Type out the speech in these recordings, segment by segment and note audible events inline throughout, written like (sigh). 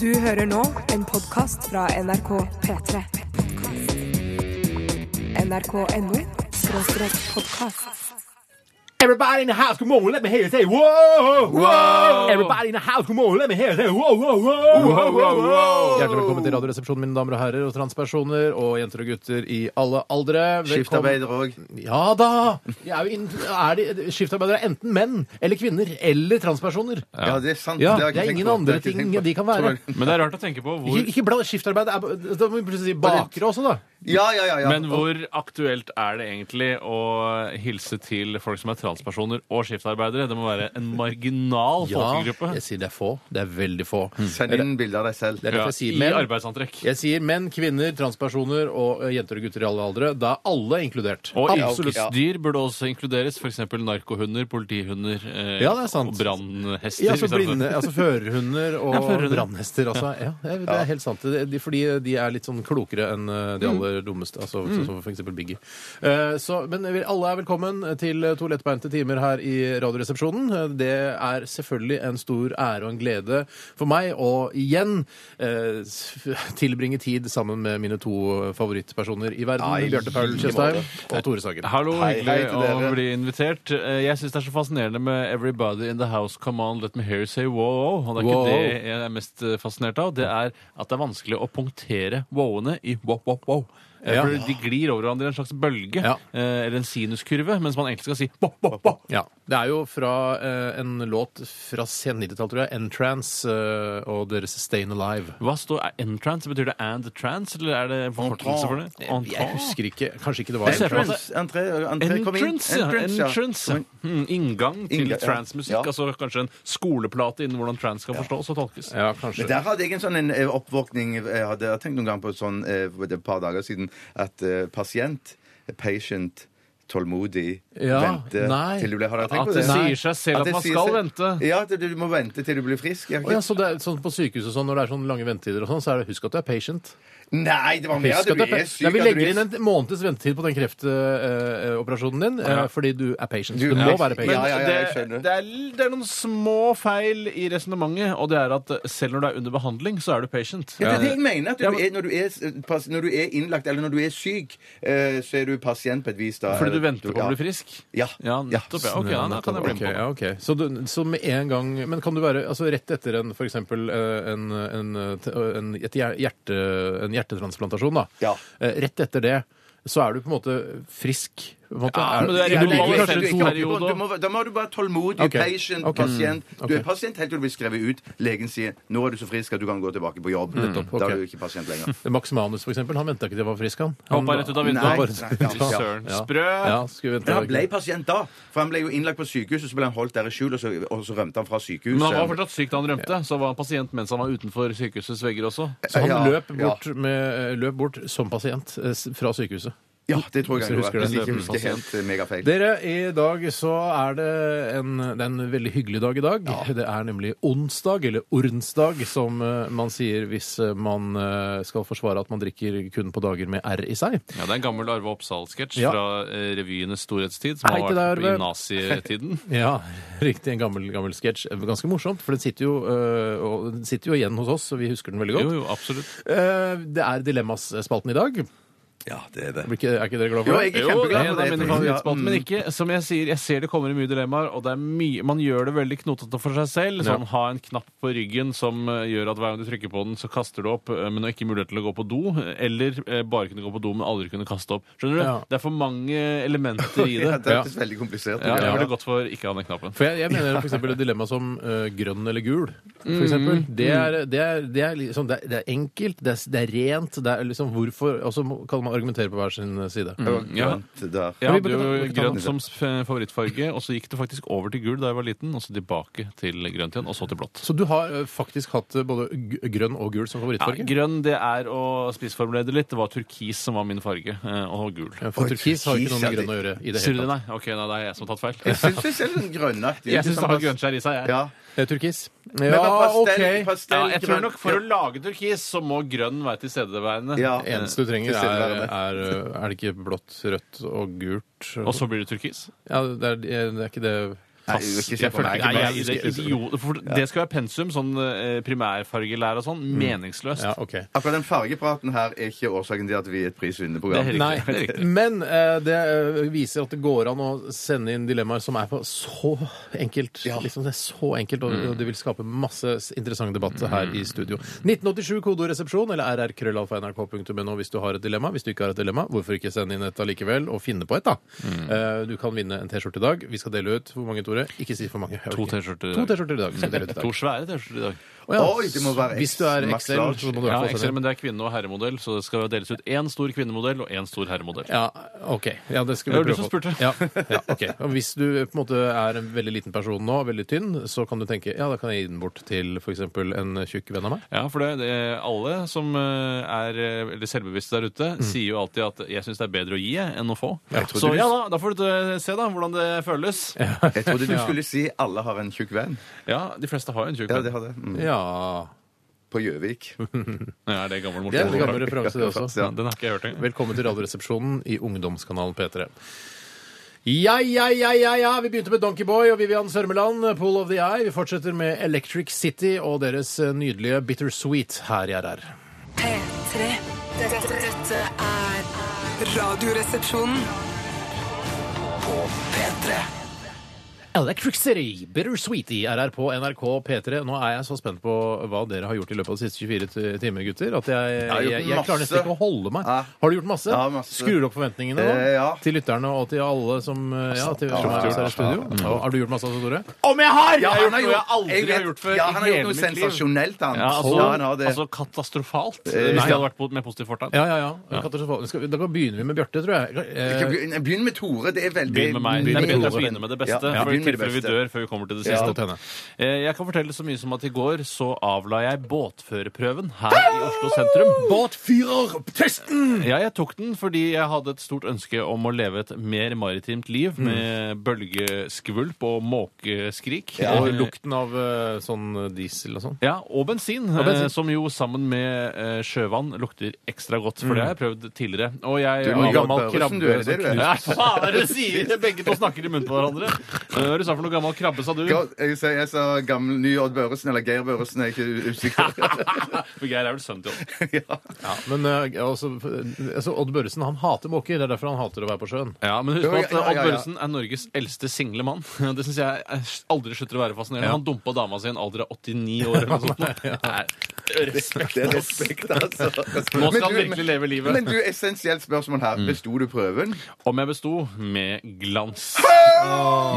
Du hører nå en podkast fra NRK P3. NRK.no skråstrek podkast. Everybody in the house, come on, let me hear you say whoa, whoa. Everybody in the house, come on, let me hear you say whoa, whoa, whoa. Hjertelig velkommen til Radioresepsjonen, mine damer og herrer, og transpersoner og jenter og gutter i alle aldre. Velkommen- Skiftarbeidere òg. Ja da! Jeg er jo inn, er de, skiftarbeidere er enten menn eller kvinner eller transpersoner. Ja, det er sant. Ja, har jeg det er ikke tenkt ingen på. andre Det har jeg ikke ting tenkt på. de kan være. Sorry. Men det er rart å tenke på Ikke, hvor ikke bland skiftarbeid. er- Da må vi plutselig si bakere også, da. Ja, ja, ja. ja. men hvor aktuelt er det egentlig å hilse til folk som er transpersoner og skiftarbeidere? Det må være en marginal folkegruppe. jeg sier det er få. Det er veldig få. Send inn bilder av deg selv. Det er Ja, derfor jeg sier I menn. arbeidsantrekk. Jeg sier menn, kvinner, transpersoner og eh, jenter og gutter i alle aldre. Da er alle inkludert. Og Alle. ymselutsdyr burde også inkluderes, f.eks. narkohunder, politihunder eh, Ja, det er sant. og brannhester. Ja, altså hvis det er blinde, sånn. altså førerhunder og Ja, førerhunder. brannhester. Altså. Ja, det er- det er helt sant. Det- De, fordi de er litt sånn klokere enn eh, de aller dummeste, altså, sånn som for eksempel Biggie. Eh, så, men vi- alle er velkommen til eh, to lettbeinte timer her i Radioresepsjonen. Eh, Det er selvfølgelig en stor ære og en glede for meg å igjen eh, s- tilbringe tid sammen med mine to favorittpersoner i verden, Nei, Bjarte Paul i Tjøstheim og Tore Sagen. Hallo, Hei, hei hyggelig til å dere. bli invitert. Eh, Jeg syns det er så fascinerende med 'Everybody in the house, come on, let me hear you say wow'. wow». Og det er Wow. ikke det jeg er mest eh, fascinert av. Det er at det er vanskelig å punktere wow-ene i wow, wow, wow. Eh, Ja. for De glir over hverandre i en slags bølge, Ja. eh, eller en sinuskurve, mens man egentlig skal si wow, wow, wow. Ja. Det er jo fra eh, en låt fra sen 90-tall, tror jeg. Entrance eh, og deres Stayin' Alive. Hva står er entrance? Betyr det and trans, eller er det en forkortelse for det? Jeg Entrance. husker ikke. Kanskje ikke det var Jeg ser for meg at Entrance. det- Entrance, entré, entré, kom inn. Entrance, ja. Entrance, Kom ja. inn. Mm, inngang til Inngang, ja. transmusikk. Ja. Altså kanskje en skoleplate innen hvordan trans skal forstås og tolkes. Ja, kanskje. Men der hadde jeg en sånn en eh, oppvåkning Jeg hadde jeg har tenkt noen gang på sånn eh, for et par dager siden at eh, pasient, eh, patient, tålmodig, Ja, vente nei. til du blir Har dere At tenkt på det det? Nei. sier seg selv at det man sier skal seg- vente. Ja, at du du må vente til du blir frisk. Jeg har Å, ja, ikke- så det er, sånn på sykehus og sånn, når det er sånn lange ventetider og sånn, så er det 'husk at du er patient'. Nei, det var mer at Husk du at du er er patient. syk. Nei, vi at du legger er- inn en måneds ventetid på den kreftoperasjonen din eh, fordi du er patient. Du- Du må Ja. være Men patient. ja, ja, jeg det, skjønner. det, er, det er noen små feil i resonnementet, og det er at selv når du er under behandling, så er du patient. Ja, det er det jeg mener. At du Ja, men- er, når, du er, pass- når du er innlagt, eller når du er syk, eh, så er du pasient på et vis. da. Fordi du Eller venter på å ja. bli frisk? Ja. ja nettopp. Ja. Ok, ja, da kan jeg bli med Ok, på det. ja, ok. Så, du, så med en gang Men kan du være altså, rett etter en for eksempel eh, en, en, en, et hjer- hjerte, en hjertetransplantasjon, da. Ja. Eh, Rett etter det så er du på en måte frisk. På en måte. Ja, men du er i Ja, Du- normal kanskje du- du- to- du- resepsjonsperiode. du- du må- Da må du være tålmodig, Ok. patient, Ok. pasient. Du er Ok. pasient helt til du blir skrevet ut. Legen sier 'nå er du så frisk at du kan gå tilbake på jobb'. Da ok. er du ikke pasient lenger. Max Manus, for eksempel, han venta ikke til han var frisk, han. han Hoppa rett ut av Nei, vinduet. nei, (laughs) ja. Fy Søren. Ja. Sprø! Ja, skulle vente Men han ble pasient da, for han ble jo innlagt på sykehuset, så ble han holdt der i skjul, og så, og så rømte han fra sykehuset. Men han var fortsatt syk da han rømte, så var han pasient mens han var utenfor sykehusets vegger også. Så han Ja, løp, bort med, eh, løp bort som pasient eh, s- fra sykehuset. Ja, det tror Hvis jeg du han gjorde. husker Hvis det. jeg ikke husker helt eh, megafeil. Dere, i dag så er det en, det er en veldig hyggelig dag i dag. Det er nemlig onsdag, eller ornsdag, som eh, man sier hvis eh, man eh, skal forsvare at man drikker kun på dager med R i seg. Ja, Det er en gammel Arve Oppsal-sketsj Ja. fra eh, revyenes storhetstid, som Hei har til vært deg, Arve. i nazitiden. Ja, riktig. En gammel, gammel sketsj. Ganske morsomt, for den sitter, jo, eh, og den sitter jo igjen hos oss, og vi husker den veldig Jo, godt. jo, absolutt. Eh, Det er Dilemmas-spalten i dag. Ja, det er det. Blir ikke- Er ikke dere glad Jo, for jeg det? er Jo, det kjempeglad er en for av det. mine favorittspalter, mm. men ikke Som jeg sier, jeg ser det kommer i mye dilemmaer, og det er mye Man gjør det veldig knotete for seg selv. Sånn ha en knapp på ryggen som eh, gjør at hver gang du trykker på den, så kaster du opp, eh, men har ikke mulighet til å gå på do. Eller eh, bare kunne gå på do, men aldri kunne kaste opp. Skjønner du? Ja. Det er for mange elementer i (laughs) Ja, det. det hørtes veldig komplisert ut. Ja, jeg Ja. ville gått for ikke ha den knappen. For jeg, jeg mener for eksempel et dilemma som eh, grønn eller gul. Mm. For eksempel. Det, er, det, er, det, er liksom, det, er, det er enkelt, det er, det er rent. Det er liksom hvorfor Og så må- kan man argumentere på hver sin side. Mm. Ja. Grønt der. Jeg vi hadde burde ta- jo vi tar grønn den. som s- f- favorittfarge, og så gikk det faktisk over til gul da jeg var liten, og så tilbake til grønt igjen, og så til blått. Så du har eh, faktisk hatt eh, både g- grønn og gul som Ja, favorittfarge? grønn det er å spissformulere det litt. Det var turkis som var min farge, eh, og gul. Ja, For Oi, turkis har jo ikke noe med turkis, ja, grønn å gjøre. i det Sier du hele det, tatt. nei? Ok, nei, det er (laughs) jeg som har tatt feil. Jeg syns det ser sånn grønnaktig ut. Jeg syns det har grønnskjær i seg, jeg. Ja. Eh, Turkis? Men Ja, pastell- OK. Ja, pastell- jeg tror nok For å grønn- lage turkis, så må grønn være tilstedeværende. Ja. Det eneste du trenger, er, Tilstedeværende. er eh, Er det ikke blått, rødt og gult? Og så blir det turkis. Ja, det er, det er ikke det jeg vil fantastisk. ikke se Jeg på følte meg. ikke Nei, meg i jeg det husker- idiot... For det skal være pensum, sånn eh, primærfargelære og sånn. Meningsløst. Ja, ok. Akkurat den fargepraten her er ikke årsaken til at vi er et prisvinnende Det program. er helt Nei, riktig. Det er riktig. men eh, det eh, viser at det går an å sende inn dilemmaer som er på så enkelt. Liksom det er så enkelt, og, Mm. og det vil skape masse s- interessant debatt her i studio. 1987 kodoresepsjon eller rrkrøllalfa.nrk.no hvis du har et dilemma. Hvis du ikke har et dilemma, hvorfor ikke sende inn et allikevel, og finne på et, da. Mm. Eh, du kan vinne en T-skjorte i dag. Vi skal dele ut hvor mange, Tore? Ikke si for mange. Jeg To orker ikke. T-skjorter To i dag. T-skjorter i dag. Skal vi dele ut i dag. To svære T-skjorter i dag. Å ja, Oi, det må være Hvis du er Max XL, Large. så må du i Ja, hvert fall sende XL, men det er kvinne- og herremodell, så det skal deles ut én stor kvinnemodell og én stor herremodell. Ja, OK. Ja, det skal vi Det var du prøve som på. spurte. Ja, ja, ok. Og hvis du på en måte er en veldig liten person nå, veldig tynn, så kan du tenke ja, da kan jeg gi den bort til f.eks. en tjukk venn av meg. Ja, for det, det, alle som eh, er eh, veldig selvbevisste der ute, sier jo alltid at 'jeg syns det er bedre å gi jeg, enn å få'. tror så Mm. du- ja da, da får du eh, se da hvordan det føles. Ja, Jeg trodde du skulle si 'alle har en tjukk venn'. de fleste har jo en tjukk Ja, venn. det har det. Mm. Ja På (laughs) Gjøvik. Ja, det er gammel Det er en morsom. gammel referanse, det også. Ja, den har ikke jeg hørt engang. Velkommen til Radioresepsjonen i ungdomskanalen P3. Ja, ja, ja, ja, ja. Vi begynte med Donkeyboy og Vivian Sørmeland, Pool of the Eye. Vi fortsetter med Electric City og deres nydelige Bittersweet her i RR. P3. Dette, dette er Radioresepsjonen. Electric City, Bittersweet i RR på NRK P3. Nå er jeg så spent på hva dere har gjort i løpet av de siste 24 t- timer, gutter, at jeg, har jeg, gjort jeg, klarer nesten masse. ikke å holde meg. Ja. Har du gjort masse? Ja, masse. Skrur du opp forventningene nå? Eh, ja. Til lytterne og til alle som eh, ja, til, som er her i studio? Ja, Har du gjort masse, Tore? Om jeg har! Ja, jeg han har gjort noe jeg aldri vet- har gjort før i ja, han har hele gjort noe mitt liv. sensasjonelt, han. Ja, altså, ja, han har det. altså katastrofalt. Hvis Eh, jeg nei, hadde vært på- med positivt fortegn. Ja, ja, ja. Katastrofal. Skal vi- Da begynner vi med Bjarte, tror jeg. Ikke Eh, begynn- Begynn med Tore. Det er veldig Begynn med meg. Det Begynn er med bedre å Tore. begynne med det beste. Ja, for i begynn med det tilfelle vi beste. dør før vi kommer til det ja. siste. Eh, Jeg kan fortelle så mye som at i går så avla jeg båtførerprøven her i Oslo sentrum. Båtfyrertesten! Ja, jeg tok den fordi jeg hadde et stort ønske om å leve et mer maritimt liv med bølgeskvulp og måkeskrik. Og Eh, lukten av eh, sånn diesel og sånn. Ja, og bensin, bensin. eh, som jo sammen med eh, sjøvann lukter ekstra godt. For det har jeg prøvd tidligere. Og jeg Du er mye avla- gammel Børresen, krabbe du er det som du er. Nei, faen, (laughs) hva er det du sier? Begge to snakker i munnen på hverandre. Eh, Hva er det du sa for noe gammel krabbe, sa du? Ja, Jeg sa, jeg sa gammel ny Odd Børresen eller Geir Børresen. Jeg er (laughs) ikke usikker. For Geir er vel sønnen til oss. Ja, men eh, altså, altså, Odd Børresen han hater måker. Det er derfor han hater å være på sjøen. Ja, men husk på at Ja, ja, ja, Odd ja. Børresen er Norges eldste single mann. (laughs) Det syns jeg er- aldri slutter å være fascinerende. Han dumpa dama si i en alder av 89 år eller noe sånt. (laughs) Nei, Respekt. Det er respekt, altså. Nå Men skal han du- virkelig leve Mm. livet. Men du, essensielt spørsmål her. Besto du prøven? Om jeg besto? Med glans.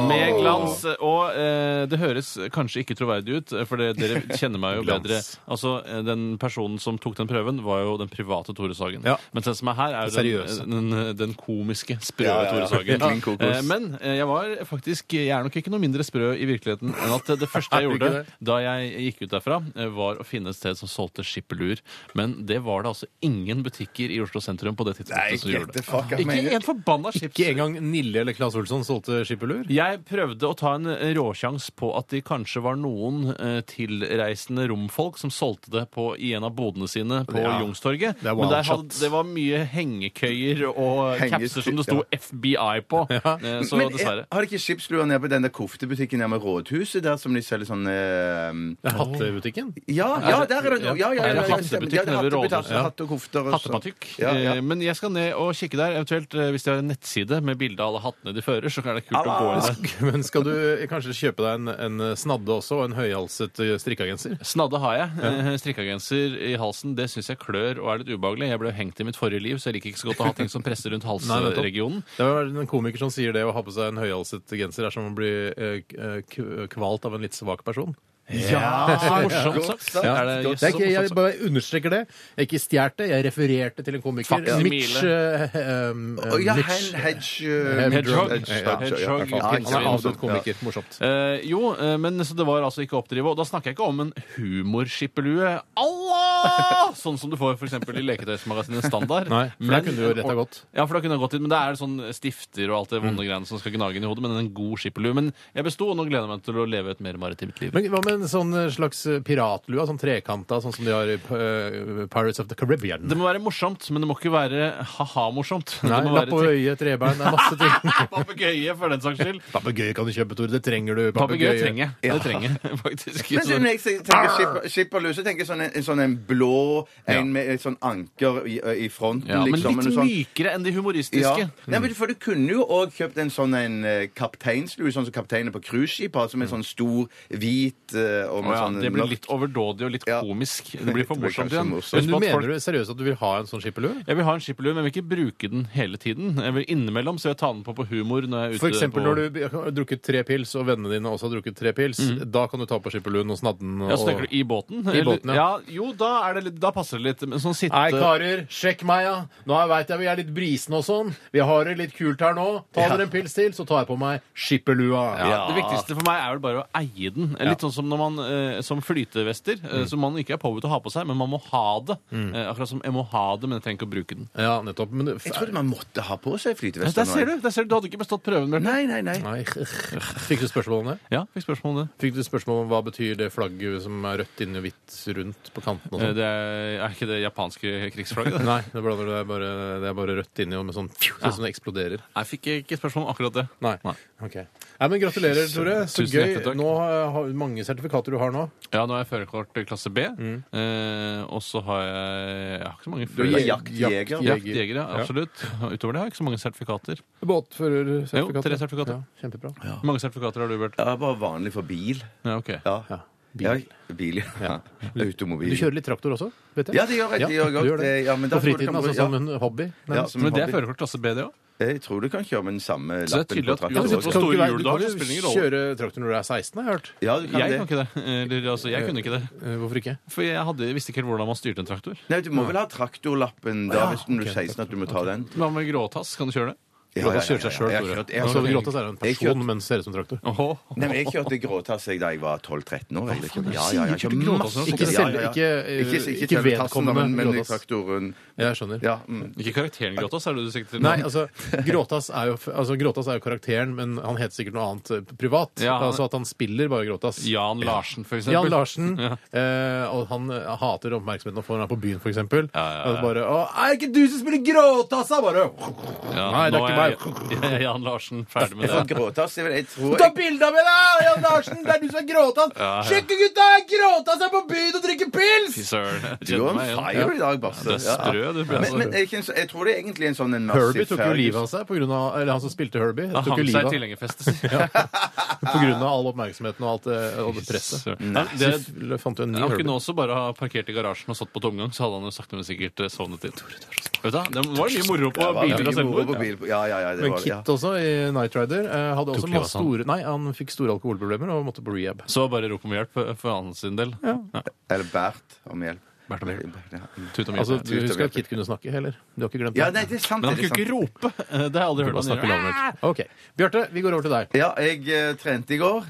Med glans. Og eh, det høres kanskje ikke troverdig ut, eh, for det, dere (laughs) kjenner meg jo bedre. Glans. Altså, eh, Den personen som tok den prøven, var jo den private Tore Sagen. Ja. Mens den som er her, er Den jo seriøse. den, den, den komiske, sprø Ja, ja, ja. Tore (laughs) Sagen. Kling kokos. Eh, men eh, jeg var faktisk Jeg er nok ikke noe mindre sprø i virkeligheten enn at (laughs) det første jeg Er du ikke gjorde da jeg gikk ut derfra, eh, var å finne et sted som solgte skipperluer. Men det var det altså ingen butikker i Oslo sentrum på det tidspunktet som gjorde det. Grete, fuck, jeg Ikke mener en forbanna chips. Ikke engang Nille eller Claes Olsson solgte skipperlur? Jeg prøvde å ta en råsjans på at de kanskje var noen eh, tilreisende romfolk som solgte det på, i en av bodene sine på Ja. Youngstorget. Det er Men wild der hadde, shots. det var mye hengekøyer og Hengesky- capser som det sto FBI på. Eh, Så Men dessverre. jeg- har de ikke skipsluer nede på den der koftebutikken nede med rådhuset, der som de selger sånn eh, Det er Hattebutikken? Ja, ja, der er det noe! Ja, ja, ja, Altså, Er det hattebutikk ja, ja, ja, det er nede ved hattebutikk, rådhuset? altså, Hatt og kofter og sånn. Hattepatikk. Ja, ja. Eh, Men jeg skal ned og kikke der. Eventuelt eh, hvis de har en nettside med bilde av alle hattene de fører, så er det kult å gå inn der. Men skal du eh, kanskje kjøpe deg en, en snadde også, og en høyhalset eh, strikkegenser? Snadde har jeg. Eh, Strikkegenser i halsen det syns jeg klør og er litt ubehagelig. Jeg ble jo hengt i mitt forrige liv, så jeg liker ikke så godt å ha ting som (laughs) presser rundt halsregionen. Det er en komiker som sier det å ha på seg en høyhalset genser er som å bli eh, k- kvalt av en litt svak person. Ja! Så morsomt sagt. Ja. Er det, Godt jøss, så ikke, jeg morsomt sagt. bare understreker det. Jeg ikke stjålet det, jeg refererte til en komiker. Faksimile. Mitch, eh, um, eh, Å, Ja, Mitch. Hen- hedge... Hedgehog. ja, Hedgehog. ja, ja, Han er ja. avdød komiker. Morsomt. Eh, jo, eh, men så det var altså ikke å oppdrive. Og da snakker jeg ikke om en humorskippelue. Allah! Åh! Sånn som du får f.eks. i leketøysmagasinet Standard. (laughs) Nei, for da kunne du jo rett ha gått. Ja, for da kunne jeg gått inn, men det er sånn stifter og alt det Mm. vonde greiene som skal gnage inn i hodet, men en god skipperlue. Men jeg besto, og nå gleder jeg meg til å leve et mer maritimt liv. Men hva med en sånn slags piratlue? Sånn trekanta, sånn som de har i eh, Pirates of the Caribbean? det må være morsomt, men det må ikke være ha-ha-morsomt. Nei, lapp på øyet, trebein, det er masse ting. (laughs) Papegøye, for den saks skyld. Papegøye kan du kjøpe, Tore. Det trenger du. Papegøye trenger jeg. Det trenger jeg (laughs) faktisk. Men så når jeg tenker skipper- skipperlue, så tenker jeg sånn en, en sånn en blå en Ja. med et sånn anker i, eh, i fronten, Ja, men liksom. litt eller noe sånt. mykere enn de Ja. humoristiske. Nei, men For du kunne jo òg kjøpt en sånn en eh, kapteinslue, sånn som kapteinen på cruiseskip har, som er sånn stor, hvit eh, og med Å ja, sånn det blir mørk- litt overdådig og litt Ja. komisk. Det blir for Det blir morsomt kanskje igjen. morsomt. Husk Men på du at folk- mener du seriøst at du vil ha en sånn skipperlue? Jeg vil ha en skipperlue, men jeg vil ikke bruke den hele tiden. Jeg vil Innimellom så vil jeg ta den på på humor når jeg er ute For eksempel på når du be- har drukket tre pils, og vennene dine også har drukket tre pils, da kan du ta på skipperluen og snadden og Mhm. ja, så tenker du I båten? I båten, ja. Jo, da, er det litt, da passer det litt. Men sånn sitte Hei, karer, sjekk meg, ja. Nå veit jeg vi er litt brisne og sånn. Vi har det litt kult her nå. Ta dere en pils til, så tar jeg på meg skipperlua. ja. Det viktigste for meg er vel bare å eie den. Litt sånn som når man eh, som flytevester, eh, som man ikke er påbudt å ha på seg, men man må ha det. Eh, akkurat som jeg må ha det, men jeg trenger ikke å bruke den. Ja, nettopp. Men det, Jeg trodde man måtte ha på seg flytevest. Der ser du! der ser Du du hadde ikke bestått prøven, Bjarte. Nei, nei, nei. (laughs) Nei. Fikk du spørsmål om det? Ja, fikk spørsmål om det. Fikk du spørsmål om hva betyr det flagget som er rødt inni og hvitt rundt på kanten og Eh, sånn? Det er, er ikke det japanske krigsflagget? det? Nei, det, blander, det, er bare, det er bare rødt inni og med sånn (laughs) fju, sånn som det eksploderer. (laughs) Jeg fikk ikke spørsmål om akkurat det. Nei. Nei. Ok. Nei, men Gratulerer, Tore. Så Tusen gøy. hjertelig takk. Nå har Mange sertifikater du har nå. Ja, nå har jeg førerkort klasse B. Eh, og så har jeg Jeg har ikke så mange Du er flere. jakt- jaktjeger. Jaktjeger, ja. Absolutt. Og Utover det har jeg ikke så mange sertifikater. Båtførersertifikater. Jo, tre sertifikater. Ja, kjempebra. Hvor mange sertifikater har du, Bert? Jeg var bare vanlig for bil. Ja, ok. Ja. Ja. Bil, ja. Bil, ja. (laughs) Automobil. Du kjører litt traktor også? vet jeg? Ja, det gjør jeg. Det gjør jeg du godt. gjør det. Det- ja, men da På får du fritiden, kan- altså ja. som en hobby? Ja, nærmest. som Men det hobby. er førerkort klasse B, det òg? Jeg tror du kan kjøre med den samme Så det er lappen tydelig på at Ja, men uansett traktoren. hvor kan stor du ikke være- juledag, Du det kan spiller ingen jo rolle. kjøre traktor når du er 16, har jeg hørt. Ja, du kan Jeg kan det. ikke det. Eller, altså, jeg kunne ikke det. Eh, Hvorfor ikke? For jeg hadde, visste ikke helt hvordan man styrte en traktor. Nei, du må vel ha traktorlappen da, hvis du er 16 at du må ta den. Hva med gråtass? Kan du kjøre det? Ja, Du kan kjøre seg ja, sjøl, ja, ja. Tore. Når Jeg har kjørt- du jeg har gråter, så er du en Jeg person, men ser ut som traktor. Åh. kjørt- Nei, men jeg kjørte gråtass jeg da jeg var 12-13 år. Jeg, kjørte- ja, ja, ja, Sier du ikke gråtass når du Ikke Ja, selv, ja, ja. ikke, eh, Ikke, ikke, ikke selve tassen, vedkommende men, men gråtass. traktoren. Jeg skjønner. Ja, mm. Ikke karakteren Gråtass, er det du sikter til? Nei, altså Gråtass er jo altså, Gråtass er jo karakteren, men han heter sikkert noe annet eh, privat. Ja, han- Altså at han spiller bare Gråtass. Jan Larsen, for eksempel. altså- Jan (laughs) Larsen. Eh, og han eh, hater oppmerksomheten han får når han er på byen, f.eks. Ja, ja, ja. Bare, å, 'Er det ikke du som spiller Gråtassa?' Bare Ja, Nei, det er nå ikke jeg- (laughs) Jeg er Jan Larsen ferdig med For det. gråtass jeg, vil- jeg tror Ta jeg, bilde av meg, da! Jan Larsen, det er du som er Gråtass! Ja, ja. Sjekk, gutta! jeg er Gråtass er på byen og drikker pils! Fy søren. jeg Du kjenner er on meg igjen. fire i dag, Basse. Du er sprø, du. Men, Bjørn. men jeg, kjenner- jeg tror det er egentlig en sånn en Herbie tok jo Ferguson- livet av seg, på grunn av, eller han som spilte Herbie, Da tok hang jo seg livet i av tilhengerfestet. sier jeg. på grunn av all oppmerksomheten og alt eh, og det presset. Søren. Nei, Så det- f- fant jo en ny Han Herbie. kunne også bare ha parkert i garasjen og satt på tomgang, så hadde han jo sakte, men sikkert eh, sovnet inn. Vet du, hva? det var mye moro Ja, på det var biler og mye moro på selvmord. bil- Ja, ja, ja, det Men var det. ja. Kit også, i Night Rider, eh, hadde også livet av masse seg. store Nei, han fikk store alkoholproblemer og måtte på rehab. Så bare rop om hjelp eh, for han sin del. Ja. Eller Bert om hjelp. Bert om hjelp. Ja. Tut om hjelp. Altså, ja. du husker at Kit kunne snakke, heller? Du har ikke glemt Ja, nei, det er sant. Men han det er kunne ikke rope! sant. Eh, Det har jeg aldri hørt Burde han snakke gjøre. lavere. Ok. Bjarte, vi går over til deg. Ja, jeg eh, trente i går.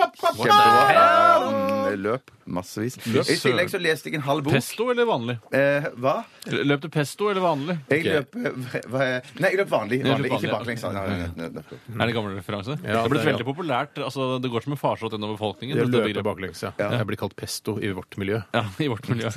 Kjempebra. Ja, mm, Løp massevis. I tillegg så leste jeg en halv bok. Pesto eller vanlig? Eh, hva? Løp du pesto eller vanlig? Jeg løp eh, hva, Nei, jeg løp vanlig. løp vanlig. Ikke vanlig, ja. baklengs. Nei, nei, nei, nei, nei. Er det en gammel referanse? det Ja, har blitt det er- veldig populært. Altså, det går som en farsott gjennom befolkningen. Det dette løper begrepet. baklengs, ja. Jeg blir kalt pesto i vårt miljø. Ja, I vårt miljø.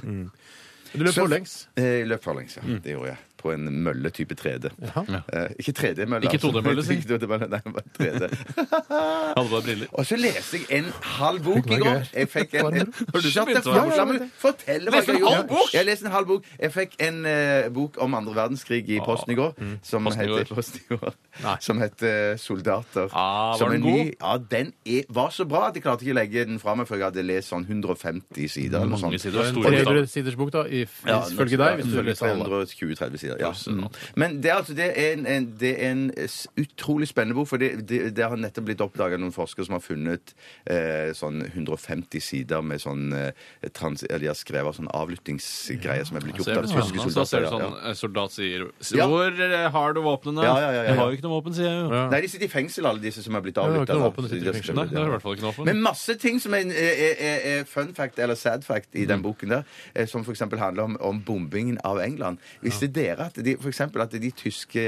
Du løper forlengs. Eh, Jeg løp forlengs, ja. Mm. Det gjorde jeg. På en mølle type 3D. Eh, ikke 3D-mølle. Ikke 2D-mølle, si. (laughs) Ikke 2D-mølle, Nei, bare 3D. Hadde bare briller. Og så leste jeg en halv bok i går. Jeg fikk en, Var det Var det du som Shut the begynte å- fuck up, la meg fortelle hva Leste jeg en har halv gjort. bok? Jeg leste en halv bok. Jeg fikk en eh, bok om andre verdenskrig i posten i går, som mm, Posten i går. heter Posten i går. Som heter eh, Soldater. Ah, var som den en ny- Ja, den er, var så bra at jeg klarte ikke å legge den fra meg før jeg hadde lest sånn 150 sider eller noe Mange sånt. sider. Store bokstaver. 300 siders bok, da, i- Ja, ifølge deg, hvis du leser alle. 320-30 sider. sier. Ja. Mm. Men det er altså det er en, en, det er en s- utrolig spennende bok, for det, det, det har nettopp blitt oppdaga noen forskere som har funnet eh, sånn 150 sider med sånn eh, trans... Eller de har skrevet sånn avlyttingsgreier som er blitt gjort Ser av du tyske sånn, så ser du soldater. sånn eh, Soldat sier "S- Ja. Hvor eh, har du våpnene? Ja, ja, ja, ja, Jeg har ja. jo ikke noe våpen, sier jeg jo. Ja. Nei, de sitter i fengsel, alle disse som er det blitt er ikke avlytta. noe våpen, de sitter i fengsel. Nei, det er i hvert fall ikke noe våpen. Men masse ting som er, en- er, er, er fun fact eller sad fact i Mm. den boken der, eh, som f.eks. handler om, om bombingen av England. Visste dere at de, for eksempel at de tyske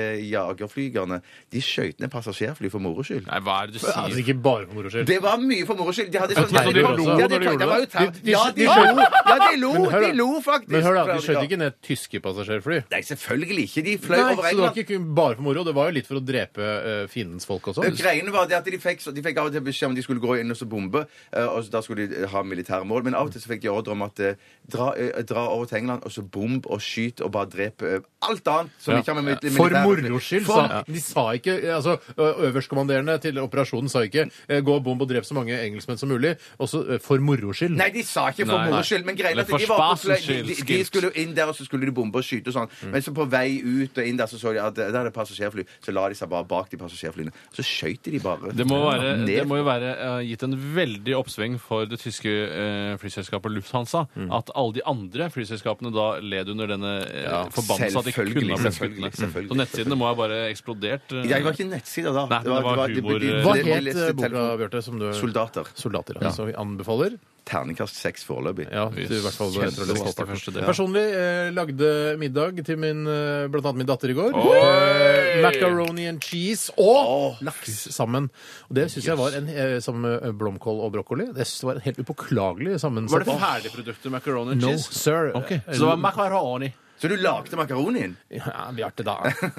jagerflygerne de skjøt ned passasjerfly for moro skyld? Nei, hva er det du Altså, sier? ikke bare for moro skyld. Det var mye for moro skyld. De hadde Jeg sånn tror de lo Ja, når de, de gjorde det var jo det. terror. De- de- Ja, de de skjøt- lo! Ja, de lo, Men hør da. de lo faktisk! Men hør da, De Ja. skjøt ikke ned tyske passasjerfly. Nei, selvfølgelig ikke. De Nei, fløy så over det var England. ikke bare for moro. Det var jo litt for å drepe eh, fiendens folk også. Greiene var det at de fikk, så de fikk av og til beskjed om de skulle gå inn og så bombe. eh, Og så da skulle de ha militære mål. Men av og til så fikk de ordre om at eh, dra, eh, dra over til England og så bomb og skyt og bare drep eh, alt annet som Ja. ikke har med mil- For militære- moro skyld, For- sa de. sa ikke, altså ø- Øverstkommanderende til operasjonen sa ikke eh, 'gå og bomb og drep så mange engelskmenn som mulig'. Også eh, for moro skyld. Nei, de sa ikke for Nei. moro skyld, men greia Men er at de for var på spasens fly- de, skyld, Mm. de skilt. skulle jo inn der, og så skulle de bombe og skyte og sånn. Men så på vei ut og inn der så så de at eh, der er det passasjerfly, så la de seg bare bak de passasjerflyene. Så skøyt de de bare. Det må, være, ned. det må jo være eh, gitt en veldig oppsving for det tyske eh, flyselskapet Lufthansa Mm. at alle de andre flyselskapene da led under denne uh, Ja, forbannelsen at de ikke kunne selvfølgelig, ha blitt skutt selvfølgelig, ned. selvfølgelig, Så nettsidene må ha bare eksplodert. eh. Jeg var ikke nettsider da. Nei, det var humor, eh, Hva Det- de het leste eh, boka, telefon- Bjarte, som du Soldater. Soldater, ja. Så vi anbefaler. Terningkast seks foreløpig. Ja, til, i hvert fall, jeg tror det Kjempestor står på. første del. Personlig eh, lagde middag til min, eh, blant annet min datter i går. Oi! Eh, macaroni and cheese og laks sammen. Og det syns jeg var en, eh, sammen med blomkål og brokkoli. Det synes jeg var en helt upåklagelig Var sammensatt. det ferdigproduktet macaroni and No, cheese? sir. Ok, Så det var macaroni. Så du lagde makaronien? Ja, Bjarte, da.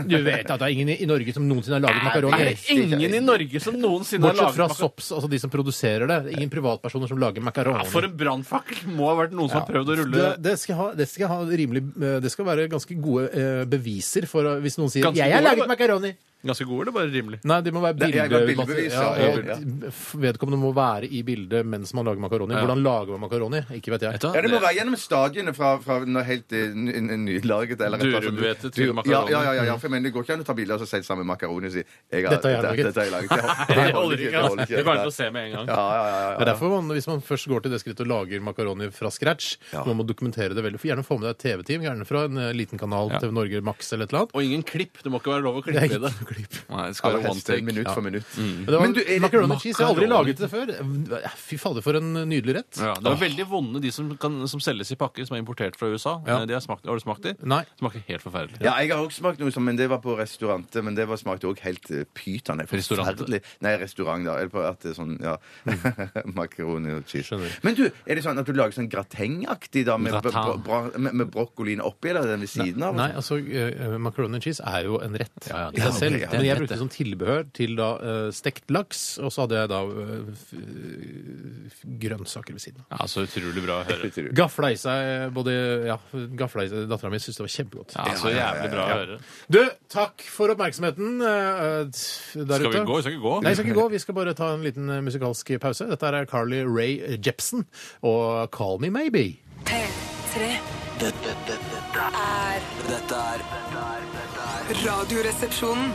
Du vet at det er ingen i i Norge som noensinne har laget Er makaroni. det ingen i Norge som noensinne har Bortsett laget fra macaroni? Sops, altså de som produserer det. Det er Ingen privatpersoner som lager makaroni. Ja, For en brannfakkel! Må ha vært noen som har prøvd å rulle Det, det, skal ha, det skal ha rimelig eh, Det skal være ganske gode eh, beviser for å- hvis noen sier Ganske 'Jeg har laget gode, da. makaroni'. Ganske god, eller bare rimelig? Nei, det må være Det- jeg var bildebevis. bildebevis, Ja, ja, og ja. f- vedkommende må være i bildet mens man lager makaroni. Ja. Hvordan lager man makaroni? Ikke vet jeg. Vet du hva? Ja, Det må være gjennom stadiene fra, fra noe helt eh, ny- ny- nylaget eller et eller annet. Durumhvete til Du- makaroni. Ja, ja, ja, ja, for jeg mener, det går ikke an å ta bilder og så si det sammen med makaroni og si jeg Dette har jeg laget. Dette har (laughs) jeg laget. Ja, Det holder ikke. det holder altså. ikke. Det er bare til å se med en gang. Ja, ja, ja, ja. Det er derfor man, Hvis man først går til det skrittet og lager makaroni fra scratch, Ja. man må dokumentere det veldig. For Gjerne få med deg et TV-team, gjerne fra en eh, liten kanal, Ja. TV Norge Max eller et eller annet. Og ingen klipp. Det må ikke være lov å Det klippe er i ikke det. noe klipp. Nei, det skal Aller være one helst take. minutt Ja. Mm. for minutt. Men det var Men du, er det- macaroni cheese. Jeg har aldri Macaroni. laget det før. Eh, Fy fader, for en nydelig rett. Ja, det er veldig vonde de som, kan, som selges i pakker som er importert fra USA. Eh, Ja. De har, smakt, har du smakt de? Nei. Smaker helt forferdelig. Ja, jeg har også smakt noe som, men det var på restaurantet, men det var, smakte også helt eh, pyton. Det er Restaurantet? forferdelig. Nei, restaurant da. Eller på at det er sånn, ja, (laughs) makaroni og cheese. Mm. Skjønner. Men du, er det sånn at du lager sånn gratengaktig da, med, Gratin. bro- bra- med, med brokkolien oppi, eller er den ved siden av? Nei, altså eh, macaroni and cheese er jo en rett Ja, ja, i det er seg selv. det, ja. Men jeg brukte det som tilbehør til da eh, stekt laks, og så hadde jeg da eh, f- f- grønnsaker ved siden av. Ja, så Altså, utrolig bra å høre. Gafla i seg eh, både Ja, gafla i seg Dattera mi syntes det var kjempegodt. Ja, så jævlig bra å høre. Du, takk for oppmerksomheten eh, eh, der Skal vi ute. gå? Vi Skal ikke gå? Nei, vi skal ikke gå. Vi skal bare ta en liten eh, musikalsk pause. Dette er Carly Ray Jepsen og 'Call Me Maybe'. P3 Dette, dette, dette, er dette er dette er- dette er Radioresepsjonen.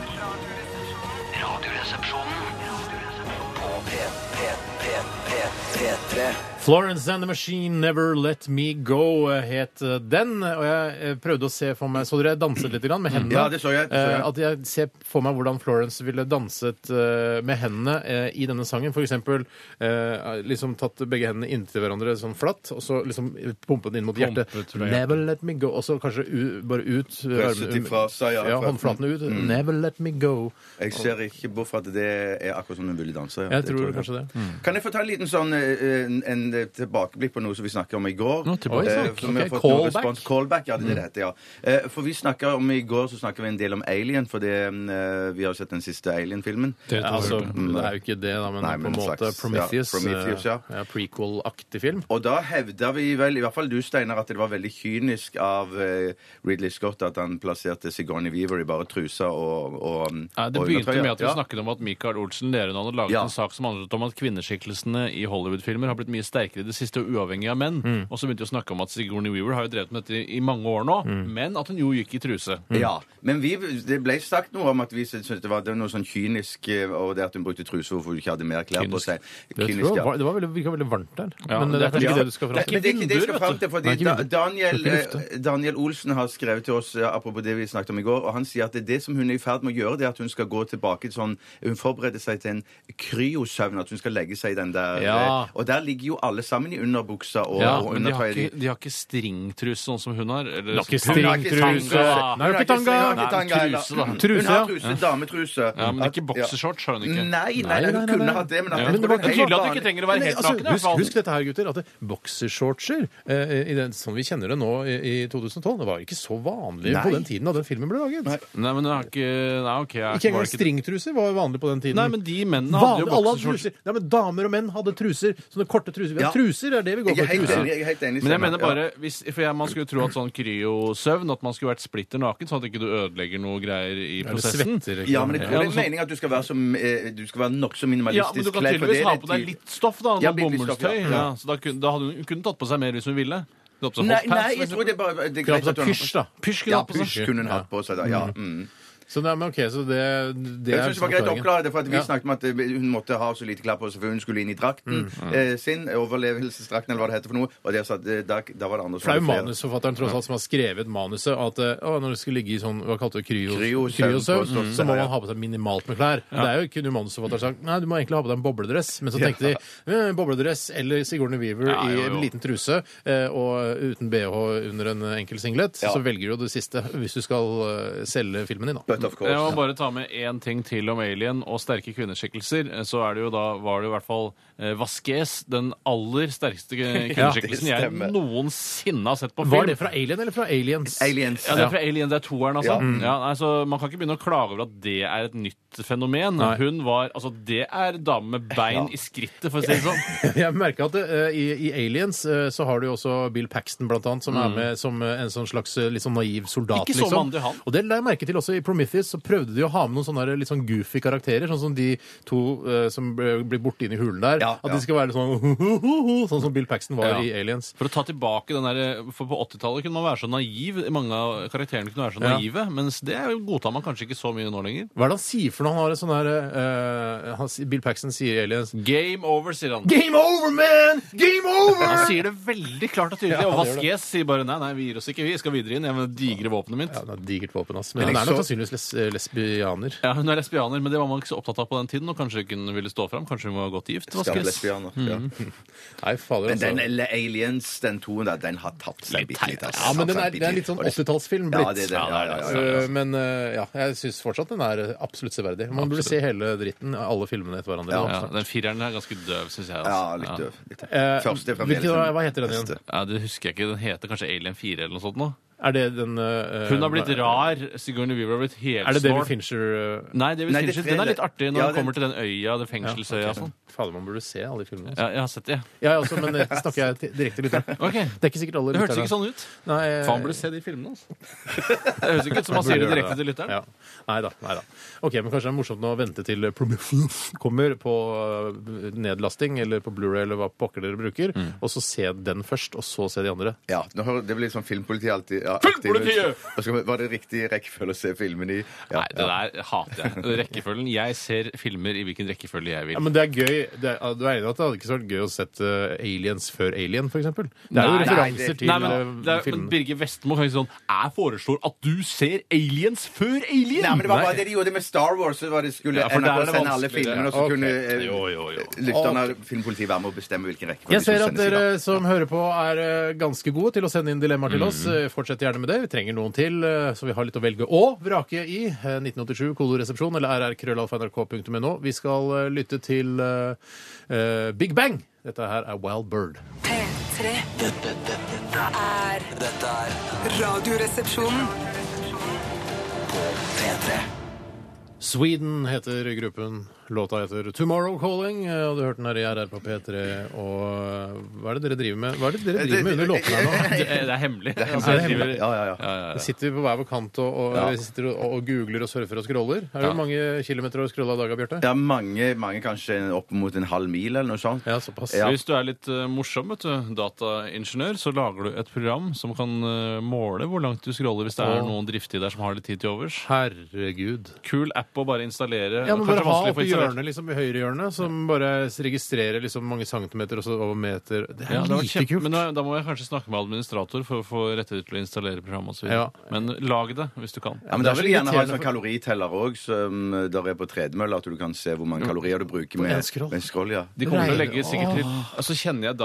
Radioresepsjonen på P, P, P, P, P3. Florence and the Machine, Never Let Me Go eh, het eh, den. Og jeg eh, prøvde å se for meg Så dere jeg danset litt grann med hendene? Ja, det så jeg, det så jeg. Eh, At jeg ser for meg hvordan Florence ville danset eh, med hendene eh, i denne sangen. For eksempel eh, liksom tatt begge hendene inntil hverandre sånn flatt, og så liksom pumpet den inn mot hjertet. Pumpet fra hjertet. Never let me go. Og så kanskje u, bare ut. eh, Presset armen- ifra seg, ja, ja. fra- Mm. Håndflatene ut. Never let me go. Jeg ser ikke bort fra at det er akkurat som hun ville danse. Ja. Jeg tror kanskje det. Kan jeg få ta en liten sånn eh, en, en tilbakeblikk på noe som vi snakka om i går? Nå, tilbakeblikk. Eh, som vi har Ok, fått noe callback. respons- Callback, ja, det er det Mm. det heter, ja. Eh, For vi snakket om i går så snakket vi en del om Alien, fordi eh, vi har sett den siste Alien-filmen. Det Ja, tror jeg altså, ikke. det er jo ikke det, da, men, Nei, men på en en måte slags- Prometheus. ja, Prometheus, ja. eh, ja, Prequel-aktig film. Og da hevda vi vel, i hvert fall du, Steinar, at det var veldig kynisk av eh, Ridley Scott at han plasserte Sigourney Weaver i bare trusa og, og Nei, det og begynte undertøyet. med at vi Ja. snakket om at Michael Olsen Lerund hadde laget Ja. en sak som handlet om at kvinneskikkelsene i Hollywood-filmer har blitt mye sterkere i det siste, og uavhengig av menn. Mm. Og så begynte vi å snakke om at Sigourney Weaver har jo drevet med dette i mange år nå, Mm. men at hun jo gikk i truse. Ja, Men vi, det ble sagt noe om at vi syntes det var, det var noe sånn kynisk eh, over det at hun brukte truse hvorfor hun ikke hadde mer klær på Kynisk. seg. Det, Kynisk, tror jeg ja. var, det var veldig, virka veldig varmt der. Ja, men det er kanskje ikke det du skal Det, fram men til. det er ikke det jeg vinduer, skal vet fram til. Nei, fordi ikke da, vinduer. Daniel, Det er ikke lufte. eh, Daniel Olsen har skrevet til oss eh, apropos det vi snakket om i går, og han sier at det, det som hun er i ferd med å gjøre, det er at hun skal gå tilbake til sånn Hun forbereder seg til en kryosøvn, at hun skal legge seg i den der Ja. eh, Og der ligger jo alle sammen i underbuksa og, Ja, og men de har undertøyet. ikke, de har ikke stringtruse sånn som hun har. Eller, Hun har ikke sånn- Hun har ikke tanga. Stringtruse. Hun har ikke Narkotanga. string- hun har ikke tanga Nei, heller. truse, da. Truse, Hun har ja. truse, dametruse. Ja, men At- ikke boksershorts, har hun Nei, ikke. nei, Nei, nei, hun nei, kunne nei. hatt det, men at Ja, jeg men det tror var ikke tydelig at du ikke trenger å være Men, helt altså, naken. i hvert husk, fall. husk dette her, gutter. At det- boksershortser, eh, i den, sånn vi kjenner det nå i, i 2012, det var ikke så vanlig Nei. på den tiden da den filmen ble laget. Nei, men hun har ikke Nei, OK. jeg Ikke var engang stringtruser var vanlig på den tiden. Nei, men de mennene hadde Vanlig, jo alle hadde boksershorts. truser. Nei, men damer og menn hadde truser. Sånne korte truser. Vi har Ja. Truser er det vi går Jeg for. er helt Truser. enig. Jeg er helt Men enig jeg mener Steinar. bare, hvis, for jeg, Man skulle jo tro at sånn kryosøvn, at man skulle vært splitter naken, sånn at ikke du ødelegger noe greier i Eller prosessen. svetter. ikke Ja, men jeg sant? Ja, tror det noe er sånt. meningen at du skal være, som, eh, du skal være nokså Ja, men Du kan minimalistisk kledd. for det tydeligvis ha er på deg tid- litt stoff, da. Ja, Noe litt- litt stoff, bomullstøy. ja. Ja, så da kunne, da hadde hun, hun kunne tatt på seg mer hvis hun ville. Hun hadde på seg Nei, hotpants, nei, for jeg tror det er bare det er Krav greit til at du har- pysj, da. Pysj kunne Ja, hatt på seg. pysj kunne hun hatt på seg. da, ja. Mm. Så, nei, men, ok, så det, det Jeg er synes det var greit å forklaringen. oppklare det, for at vi Ja. snakket om at eh, hun måtte ha så lite klær på seg, for hun skulle inn i drakten eh, sin, overlevelsesdrakten eller hva det heter for noe, og der, satt, eh, da, da var det andre som For det er jo hadde flere. manusforfatteren tross alt som har skrevet manuset at eh, å, når det skal ligge i sånn hva kalte du det, kryo- Kryosøvn, kryosøvn, sånn påstås det så må her, ja. man ha på seg minimalt med klær. Det er jo kunne manusforfatteren sagt nei, du må egentlig ha på deg en bobledress, men så tenkte de eh, bobledress eller Sigourney Weaver Ja, jo, i en jo. liten truse eh, og uten bh under en enkel singlet, så velger du jo det siste hvis du skal eh, selge filmen din, da. But of course. Jeg må bare ta med én ting til om Alien og sterke kvinneskikkelser. Eh, Så er det jo da, var det jo i hvert fall eh, Vasquez, den aller sterkeste eh, (laughs) kvinneskikkelsen jeg stemmer. noensinne har sett på film. Var det fra Alien eller fra Aliens? Aliens. Ja, det er fra Alien, det er toeren, altså. Ja. Mm. Ja. nei, så man kan ikke begynne å klage over at det er et nytt fenomen. Nei. Hun var Altså, det er dame med bein i skrittet, for å si det sånn. Jeg merker at eh, i, i Aliens eh, så har du jo også Bill Paxton blant annet, som er med som eh, en sånn slags eh, litt sånn naiv soldat. liksom. Ikke så mandig, han. Og det la jeg merke til også i Prometheus, så prøvde de å ha med noen sånne her litt sånn goofy karakterer, sånn som de to eh, som ble- blir borte inn i hulen der. Ja, at ja. de skal være litt sånn sånn som Bill Paxton var Ja. i Aliens. For å ta tilbake den der eh, For på 80-tallet kunne man være så naiv. Mange av karakterene kunne være så Ja. naive. Mens det godtar man kanskje ikke så mye nå lenger. Hva er det han sier for noe? Han har et sånn her eh, han si- Bill Paxton sier i Aliens Game over, sier han. Game over, man! Game Han over! sier det veldig klart og tydelig. Ja, og han gjør det. Vasquez sier bare nei, nei, vi gir oss ikke, vi skal videre inn. Jeg med det digre våpenet mitt. Ja, det er et digert våpen, ass. Men Men han jeg er nok så- sannsynligvis les lesbianer. Ja, Hun er lesbianer, men det var man ikke så opptatt av på den tiden. Og kanskje ikke hun ville stå fram. Kanskje hun var godt gift. Skal Vasquez. lesbianer. Ja. Nei, fader, Men altså. den eller Aliens, den toen der, den har tapt seg bitte litt. altså. Ja, men den Tapt er, seg den er litt sånn bitte litt. 80-tallsfilm Ja, blitt. det er det. Ja, ja, ja, ja. Eh, Men eh, ja, jeg syns fortsatt den er eh, absolutt severdig. Man burde se hele dritten, alle filmene etter hverandre. Sånn. Ja, den fireren er ganske døv, syns jeg. Ja, altså. litt døv. Litt døv. Eh, Første er fremdeles hvilken, den hva heter den beste. igjen? Ja, det husker jeg ikke. Den heter kanskje Alien 4 eller noe sånt nå. Er det den eh, Hun har blitt rar. Sigourney Weaver har blitt helsnål. Er det David Fincher eh, Nei, David Nei, det Fincher. er Den er litt det. artig når Ja, han den- kommer til den øya, det ja, fengselsøya og ok. sånn. Fader, man burde se alle de filmene. altså. Ja, jeg har sett det. Ja, jeg også, men det snakker jeg til- direkte litt om. Ok, Det er ikke sikkert alle Det hørtes ikke lytterne- sånn ut. Nei, eh, Faen, burde se de filmene, altså. Det høres ikke ut som man sier det direkte til lytteren. Ja. Nei da. nei da. Ok, men kanskje det er morsomt nå å vente til Prometheus (laughs) kommer på øh, nedlasting eller på Blu-ray eller hva pokker dere bruker, Mm. og så se den først, og så se de andre. Ja, nå hører, Det blir litt sånn filmpoliti alltid. Ja, Filmpolitiet! aktivt. Og så Var det riktig rekkefølge å se filmene i? Ja, Nei, det der hater jeg. Rekkefølgen. Jeg ser filmer i hvilken rekkefølge jeg Ja, vil. men det er gøy. Det er, du er enig i at det hadde ikke vært gøy å sette Aliens før Alien, for eksempel? Det er jo Nei, nei, referanser det- til Nei, men, det øh, er, men filmene. Birger Vestmo kan ikke sånn Jeg foreslår at du ser Aliens før Alien! Nei, men det var bare Nei. det de gjorde med Star Wars. Så var det skulle Ja, for der er NRK det sende alle vanskeligere. filmene, og så Ok. kunne eh, Jo, jo, jo. lytterne av filmpolitiet være med å bestemme hvilken rekkefølge Jeg ser som at sendes i dag. dere som hører på er eh, ganske gode til å sende inn dilemmaer til oss. Eh, Fortsett gjerne med det. Vi trenger noen til, eh, så vi har litt å velge og vrake i. Eh, 1987, koloresepsjon eller rrkrøllalfa.nrk.no. Vi skal eh, lytte til eh, eh, Big Bang. Dette her er Wild Bird. P3 Dette, dette, dette, er er- dette er Radioresepsjonen. P3. Sweden heter gruppen. Låta heter Tomorrow Calling, eh, og du hørte den her i RR på P3. Og Hva er det dere driver med Hva er det dere driver med under låtene her nå? Det er, det er hemmelig. er Altså, jeg hemmelig. driver- Ja, ja, ja. Vi Sitter vi på hver vår kant og, og, Ja. sitter og, og googler og surfer og scroller? Er det Ja. mange kilometer å scrolle av dagen, Bjarte? Ja, mange, mange kanskje opp mot en halv mil eller noe sånt. Ja, såpass. Ja. Hvis du er litt eh, morsom, vet du, dataingeniør, så lager du et program som kan eh, måle hvor langt du scroller hvis det er Åh. noen driftige der som har litt tid til overs. Herregud. Kul app å bare installere. Ja, men bare ha Kanskje vanskelig å få oppi installert. hjørnet, liksom, i høyre hjørne, som bare registrerer liksom mange centimeter og så over meter. Det er Ja, det var like kjempe, kult. men da, da må jeg kanskje snakke med administrator for å få rettigheter til å installere programmet. og så Ja. videre. Men lag det hvis du kan. Ja, men Det Da er så vil jeg gjerne ha en irriterende sånn kaloriteller òg, som eh, der er på tredemølla. At du kan se hvor mange kalorier du bruker med Mm. en scroll. Med en scroll ja. De kommer til å Regner- legge sikkert til altså, Kjenner jeg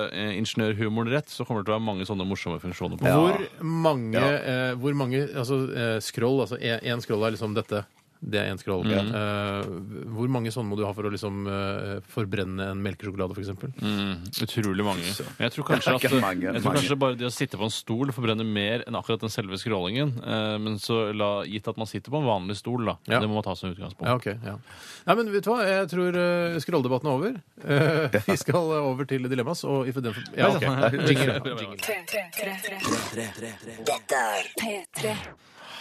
dataingeniørhumoren rett, så kommer det til å være mange sånne morsomme funksjoner på. Hvor mange, Ja. eh, hvor mange altså, eh, scroll Altså én scroll er liksom dette. Det er én scroll. Eh, hvor mange sånne må du ha for å liksom eh, forbrenne en melkesjokolade, f.eks.? eksempel? Mm, Utrolig mange. Men jeg tror kanskje at Ikke jeg mange, tror mange. kanskje bare det å sitte på en stol forbrenner mer enn akkurat den selve scrollingen. Eh, Men så la, gitt at man sitter på en vanlig stol, da. Ja. Det må man ta som utgangspunkt. Ja, ok. Ja. Nei, men vet du hva? Jeg tror eh, scrolldebatten er over. Eh, (laughs) vi skal eh, over til dilemmas, og if den for... Ja, ok. Jingle. Jingle.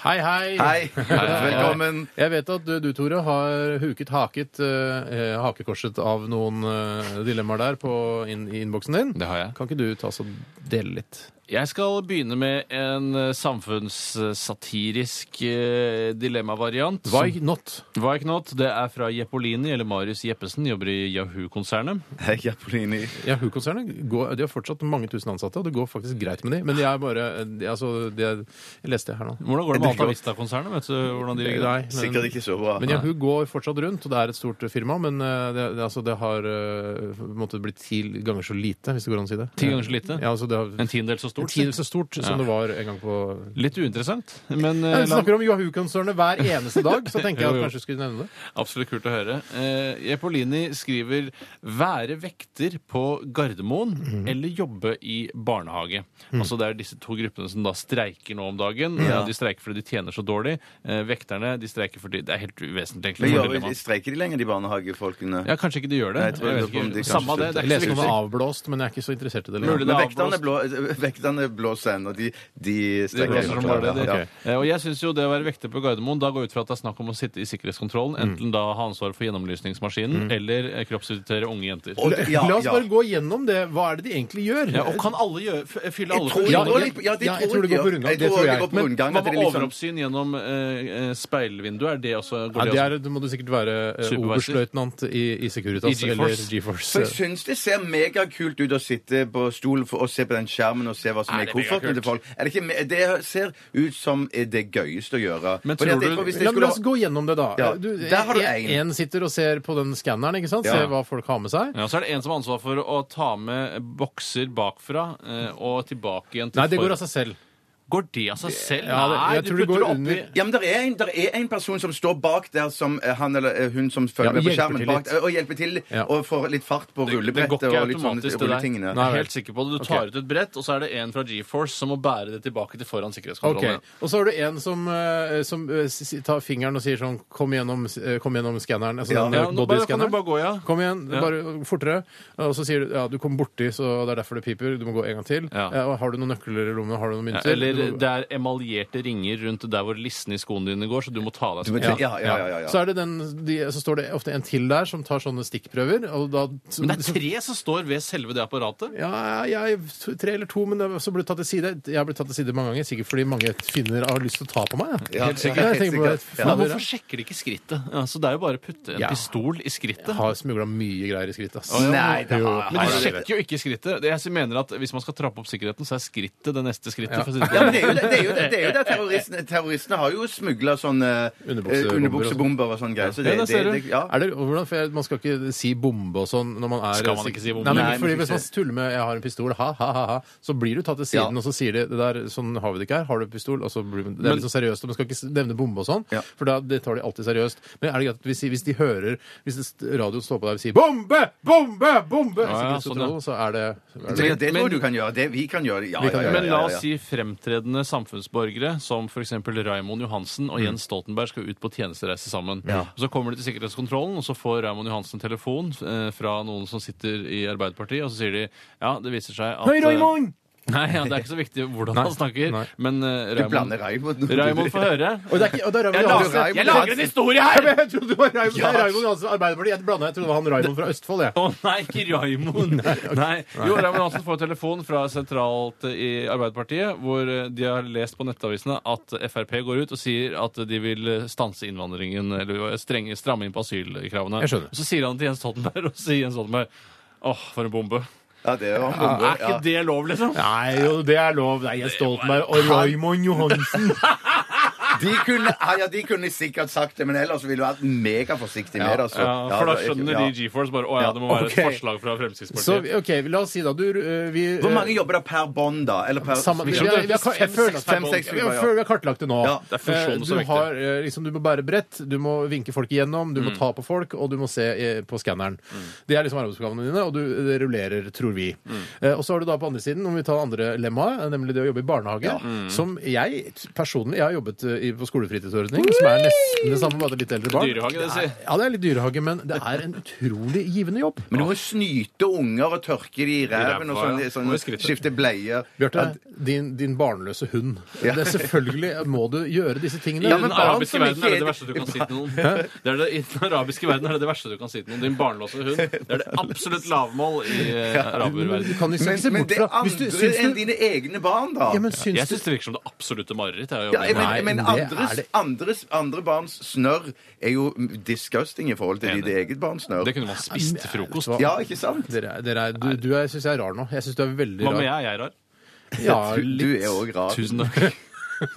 Hei, (laughs) hei. Hei, velkommen. Jeg vet at du, du Tore, har huket haket, eh, hakekorset av noen eh, dilemmaer der på inn- i innboksen din. Det har jeg. Kan ikke du ta så dele litt? Jeg skal begynne med en eh, samfunnssatirisk eh, dilemma-variant. Why not? Why not? Det er fra Jeppolini, eller Marius Jeppesen, jobber i Yahoo-konsernet. Hei, Japolini. Yahoo-konsernet går- de har fortsatt mange tusen ansatte, og det går faktisk greit med de, men de er bare de, altså, de er, Jeg leste det her nå. Hvordan går det med Alta Vista-konsernet? Vet du hvordan de ligger Nei, der? men- Sikkert ikke så bra. Men Yahoo går fortsatt rundt, og det er et stort firma, men eh, det, det, altså, det har eh, på en måte blitt ti ganger så lite, hvis det går an å si det. Ti ganger så lite? Ja, altså, det har, En tiendedel så en stort? tiendel så sikkert. stort Ja. som det var en gang på Litt uinteressant, men eh, Vi la- snakker om Yahoo-konsernet hver eneste dag, (laughs) så tenker jeg at kanskje du skulle nevne det. absolutt kult å høre. Eh, Jeppolini skriver 'være vekter på Gardermoen Mhm. eller jobbe i barnehage'. Altså Det er disse to gruppene som da streiker nå om dagen. Eh, De streiker fordi de tjener så dårlig. Eh, vekterne de streiker fordi Det er helt uvesentlig. egentlig, Men for gjør, dilemmaet. Streiker de lenger, de barnehagefolkene? Ja, Kanskje ikke de gjør det. Nei, jeg tror Jeg jeg lurer på om vet de ikke. kanskje Samme det. det Jeg er leste om ikke det så viktig. avblåst, men jeg er ikke så interessert i det Mulig lenger. det Men er vekterne, avblåst. blå, (laughs) vekterne blåser ennå. De, de Det streiker blåser som bare det. Ja. det. Eh, Og jeg synes jo det å være vekter på Gardermoen, da går jeg ut fra at det er snakk om å sitte i sikkerhetskontrollen, Mm. enten da ha ansvar for gjennomlysningsmaskinen eller eh, kroppsvisitere unge jenter. Og det- ja, La oss ja. bare gå gjennom det. Hva er det de egentlig gjør? Ja, og kan alle gjøre, f- fylle alle Tror kontroller? Ja, de går jeg- litt- ja, de ja, jeg tror tror det de går på gjør. rundgang, det Jeg tror tror det jeg. går på Men rundgang. hva at med de liksom- overoppsyn gjennom eh, eh, speilvinduet? Er det også Ja, går det det er, må du sikkert være eh, Supervisor. oberstløytnant i, i Securitas I GeForce. eller GeForce. For jeg syns det ser megakult ut å sitte på stol for, og se på den skjermen og se hva som Er er, i det kofferten megakult? til folk. Er det, ikke, me- det ser ut som eh, det gøyeste å gjøre. Men Fordi at tror jeg du- hvis jeg Ja, men skulle La oss gå gjennom det, da. Ja, Du, der har du en, en. en sitter og ser på den skanneren, ikke sant? Ja. ser hva folk har med seg. Ja, så er det en som har ansvar for å ta med bokser bakfra eh, og tilbake igjen til Nei, det går for- av seg selv. Går det av seg selv? Ja, det- Nei, jeg du tror det putter går oppi- under- Ja, men der er, en, der er en person som står bak der, som eh, han eller eh, hun som følger Ja, med på hjelper skjermen, til bak, litt. og hjelper til Ja. og får litt fart på Det går rullebrettet ikke og sånn litt sånne automatisk, det der. rulletingene. Jeg er vel. helt sikker på det. Du tar ut et brett, og så er det en fra GeForce som må bære det tilbake til foran Ok, sikkerhetskontrollen. Og så har du en som, eh, som eh, s- s- tar fingeren og sier sånn Kom gjennom, eh, kom gjennom skanneren. Altså, Ja, den, Ja, eh, nå bare, kan du bodyscanneren. bare gå, ja. Kom igjen, Ja. bare fortere. Og så sier du ja, du kom borti, så det er derfor det piper. Du må gå en gang til. Ja. Eh, Og har du noen nøkler i rommet? Har du noen Ja, mynter? Eller Du må- det er emaljerte ringer rundt der hvor lissene i skoene dine går, så du må ta av deg Du må skoene. tenke- Ja, ja, ja, ja, Så, ja. er det den, de, så står det ofte en til der som tar sånne stikkprøver. Og da, Men det er tre som står ved selve det apparatet. Ja, jeg, tre eller to, men det er også blitt tatt til side. Jeg har blitt tatt til side mange ganger, sikkert fordi mange finner har lyst til å ta på meg. jeg. Ja, Helt sikkert. ja, Jeg tenker på helt det. sikkert. Faen, Men Ja, dere hvorfor sjekker de ikke skrittet? Altså, det er jo bare å putte en Ja. pistol i skrittet. Har smugla mye greier i skrittet, ass. Nei, det Jo. har Men har du du det. sjekker jo ikke skrittet. Det- Jeg mener at Hvis man skal trappe opp sikkerheten, så er skrittet det neste skrittet. For å si det Ja, men det sånn. er jo det, det, er jo det, det, er jo det. Terroristene, terroristene har jo smugla sånne eh, Underbuksebomber og- underbuksebomber og sånn greier. Så det, Ja, der det, ser du. det, ja. Er det, og hvordan, for jeg, man skal ikke si bombe og sånn når man er Skal man ikke si bombe? Nei, men, Nei, fordi man Hvis skal man tuller med 'jeg har en pistol', ha, ha, ha, ha så blir du tatt til siden, Ja. og så sier de det der, 'sånn har vi det ikke her', har du pistol? Og så blir man, det er Men- litt sånn seriøst, og man skal ikke s- nevne bombe og sånn, Ja. for da, det tar de alltid seriøst. Men er det greit at hvis, hvis de hører Hvis det st- radioen står på der og sier 'bombe, bombe, bombe', Ja, ja, så, sånn, ja. så er det, er det Det, det tror Men- jeg du kan gjøre. Det vi kan gjøre. Ja, Vi kan ja, ja, Men ja, la ja, oss si ja. fremtredende samfunnsborgere som f.eks. Raimond Johansen Mm. og Jens Stoltenberg skal ut på tjenestereise sammen. Og Så kommer de til sikkerhetskontrollen, og så får Raimond Johansen telefon eh, fra noen som sitter i Arbeiderpartiet, og så sier de ja, det viser seg at eh, Hei, Raymond! (laughs) Nei, ja, Det er ikke så viktig hvordan han snakker, nei. men eh, Du blander Raymond. Raymond får høre. (laughs) Og det er ikke, og det er Jeg Raymond lager, Johansen. Raymond jeg lager en historie Ja, her! men Jeg trodde det var Raymond, det er Raymond Johansen fra Arbeiderpartiet. Jeg blanda, jeg trodde det var han Raymond fra Østfold. jeg. Å nei, ikke Raimond! Nei. Jo, Raimond Hansen får telefon fra sentralt i Arbeiderpartiet, hvor eh, de har lest på nettavisene at Frp går ut og sier at de vil eh, stanse innvandringen, eller eh, strenge, stramme inn på asylkravene. Jeg skjønner. Så sier han til Jens Stoltenberg, og sier Jens Stoltenberg Åh, for en bombe. Ja, det var en bombe. Er ikke Ja. det lov, liksom? Nei, jo, det er lov. Det er Jens Stoltenberg og Raymond Johansen. De kunne, ja, ja, de kunne sikkert sagt det, men ellers ville du vært megaforsiktig med det. Altså. Ja, for da det er ikke- skjønner ja. de GeForce bare Å ja, det må være ok. et forslag fra Så Fremskrittspartiet. OK, la oss si da du eh, vi, eh, Hvor mange jobber da per bånd, da? Eller per sammen, vi, vi, skjønner har- det. vi, har- jeg føler at- Fem, seks vi har- stykker, ja. føler vi har kartlagt det nå. Ja, det er funksjonen Eh, som er du, viktig. har, eh, liksom, du må bære brett, du må vinke folk igjennom, du Mm. må ta på folk, og du må se eh, på skanneren. Det er liksom arbeidsoppgavene dine, og du det rullerer, tror vi. Mm. Eh, Og så har du da på andre siden, om vi tar andre lemmaet, nemlig det å jobbe i barnehage, Mm. som jeg t- personlig Jeg har jobbet eh, i- på skolefritidsordning, som er nesten det samme, bare litt eldre barn. Dyrehage, det sier. Ja, det er litt dyrehage, men det er en utrolig givende jobb. Men du må snyte unger og tørke de i ræven og ræva, sånn, ja. sånn, Må jo skritte. skifte bleier. Bjarte, din, din barnløse hund. Det er selvfølgelig må du gjøre disse tingene. I men den barn arabiske som verden ikke er det det er- verste du kan si til noen. Det er det, I den arabiske verden er det det verste du kan si til noen. Din barnlåse hund. Det er det absolutt lavmål i Men eh, du araberverdenen. kan jo ikke Men, se men bort det fra er Hvis du andre syns enn du dine egne barn, da. Ja, men syns Jeg du syns det virker som det absolutte mareritt. Jeg, Ja, jobber men, med. Nei, men det er andres, det- andres, andre barns snørr er jo disgusting i forhold til Enig. ditt eget barns snørr. det kunne man spist til frokost. Hva- Ja, ikke sant? dere er, dere er, du, du er, syns jeg er rar nå. Jeg syns du er veldig Hva rar. med jeg? Jeg er rar. Ja, Du, du litt, er òg rar. Tusen takk.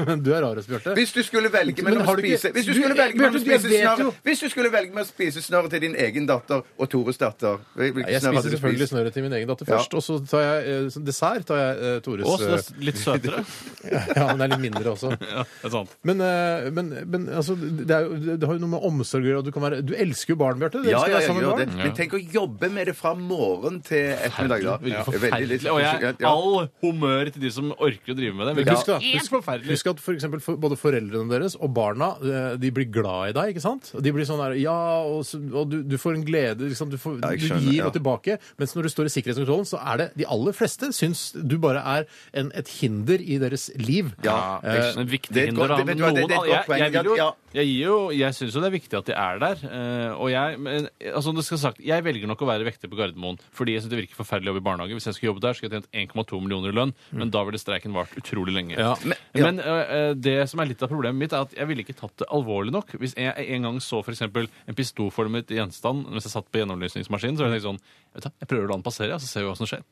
men (laughs) du er rarest, Bjarte. Hvis du skulle velge Men mellom å har du ikke- spise Hvis du du- skulle velge mellom å Bjarte, du- jeg spise vet snørr jo- Hvis du skulle velge mellom å spise snørr til din egen datter og Tores datter hvilken Jeg snørr hadde spiser du selvfølgelig spist? snørret til min egen datter Ja. først, og så tar jeg eh, som dessert tar jeg eh, Tores Å, så det eh, er litt søtere. (laughs) Ja, men det er litt mindre (laughs) også. Ja, det er sant. Men, eh, men, men altså, det, er, jo- det har jo noe med omsorg å gjøre. og Du, kan være- du elsker jo barn, Bjarte. Du Ja, elsker å ja, være jeg sammen med gjør det. barn. Men tenk å jobbe med det fra morgen til ettermiddag. da. Virker Det er veldig litt- forferdelig. Og jeg Ja. all humør til de som orker å drive med det. Men Men Husk, da, Helt husk, forferdelig. husk at for eksempel for, både foreldrene deres og barna eh, de blir glad i deg. ikke sant? Og De blir sånn der, ja, og, så- og du, du får en glede. Ikke sant? Du, får, Ja, jeg skjønner, du gir ja. og tilbake. Mens når du står i sikkerhetskontrollen, så er det de aller fleste syns du bare er en, et hinder i deres liv. Ja, Eh, Men viktig Det er et hinder godt- da. det- vet du hva, det- det er Noen- et godt poeng. Jeg, jeg, vil jo, Ja. jeg, gir jo- jeg syns jo det er viktig at de er der. eh, Og jeg, men, altså, det skal sagt, jeg velger nok å være vekter på Gardermoen fordi jeg syns det virker forferdelig å jobbe i barnehage. Hvis jeg skulle jobbe der, skulle jeg tjent 1,2 millioner i lønn, men da ville streiken vart utrolig lenge. Ja. Men, men, eh, eh, det som er litt av problemet mitt, er at jeg ville ikke tatt det alvorlig nok. Hvis jeg en gang så f.eks. en pistolformet gjenstand mens jeg satt på gjennomlysningsmaskinen, så ville jeg tenkt sånn vet du, hva, Jeg prøver å la den passere, ja, så ser vi hva som skjer.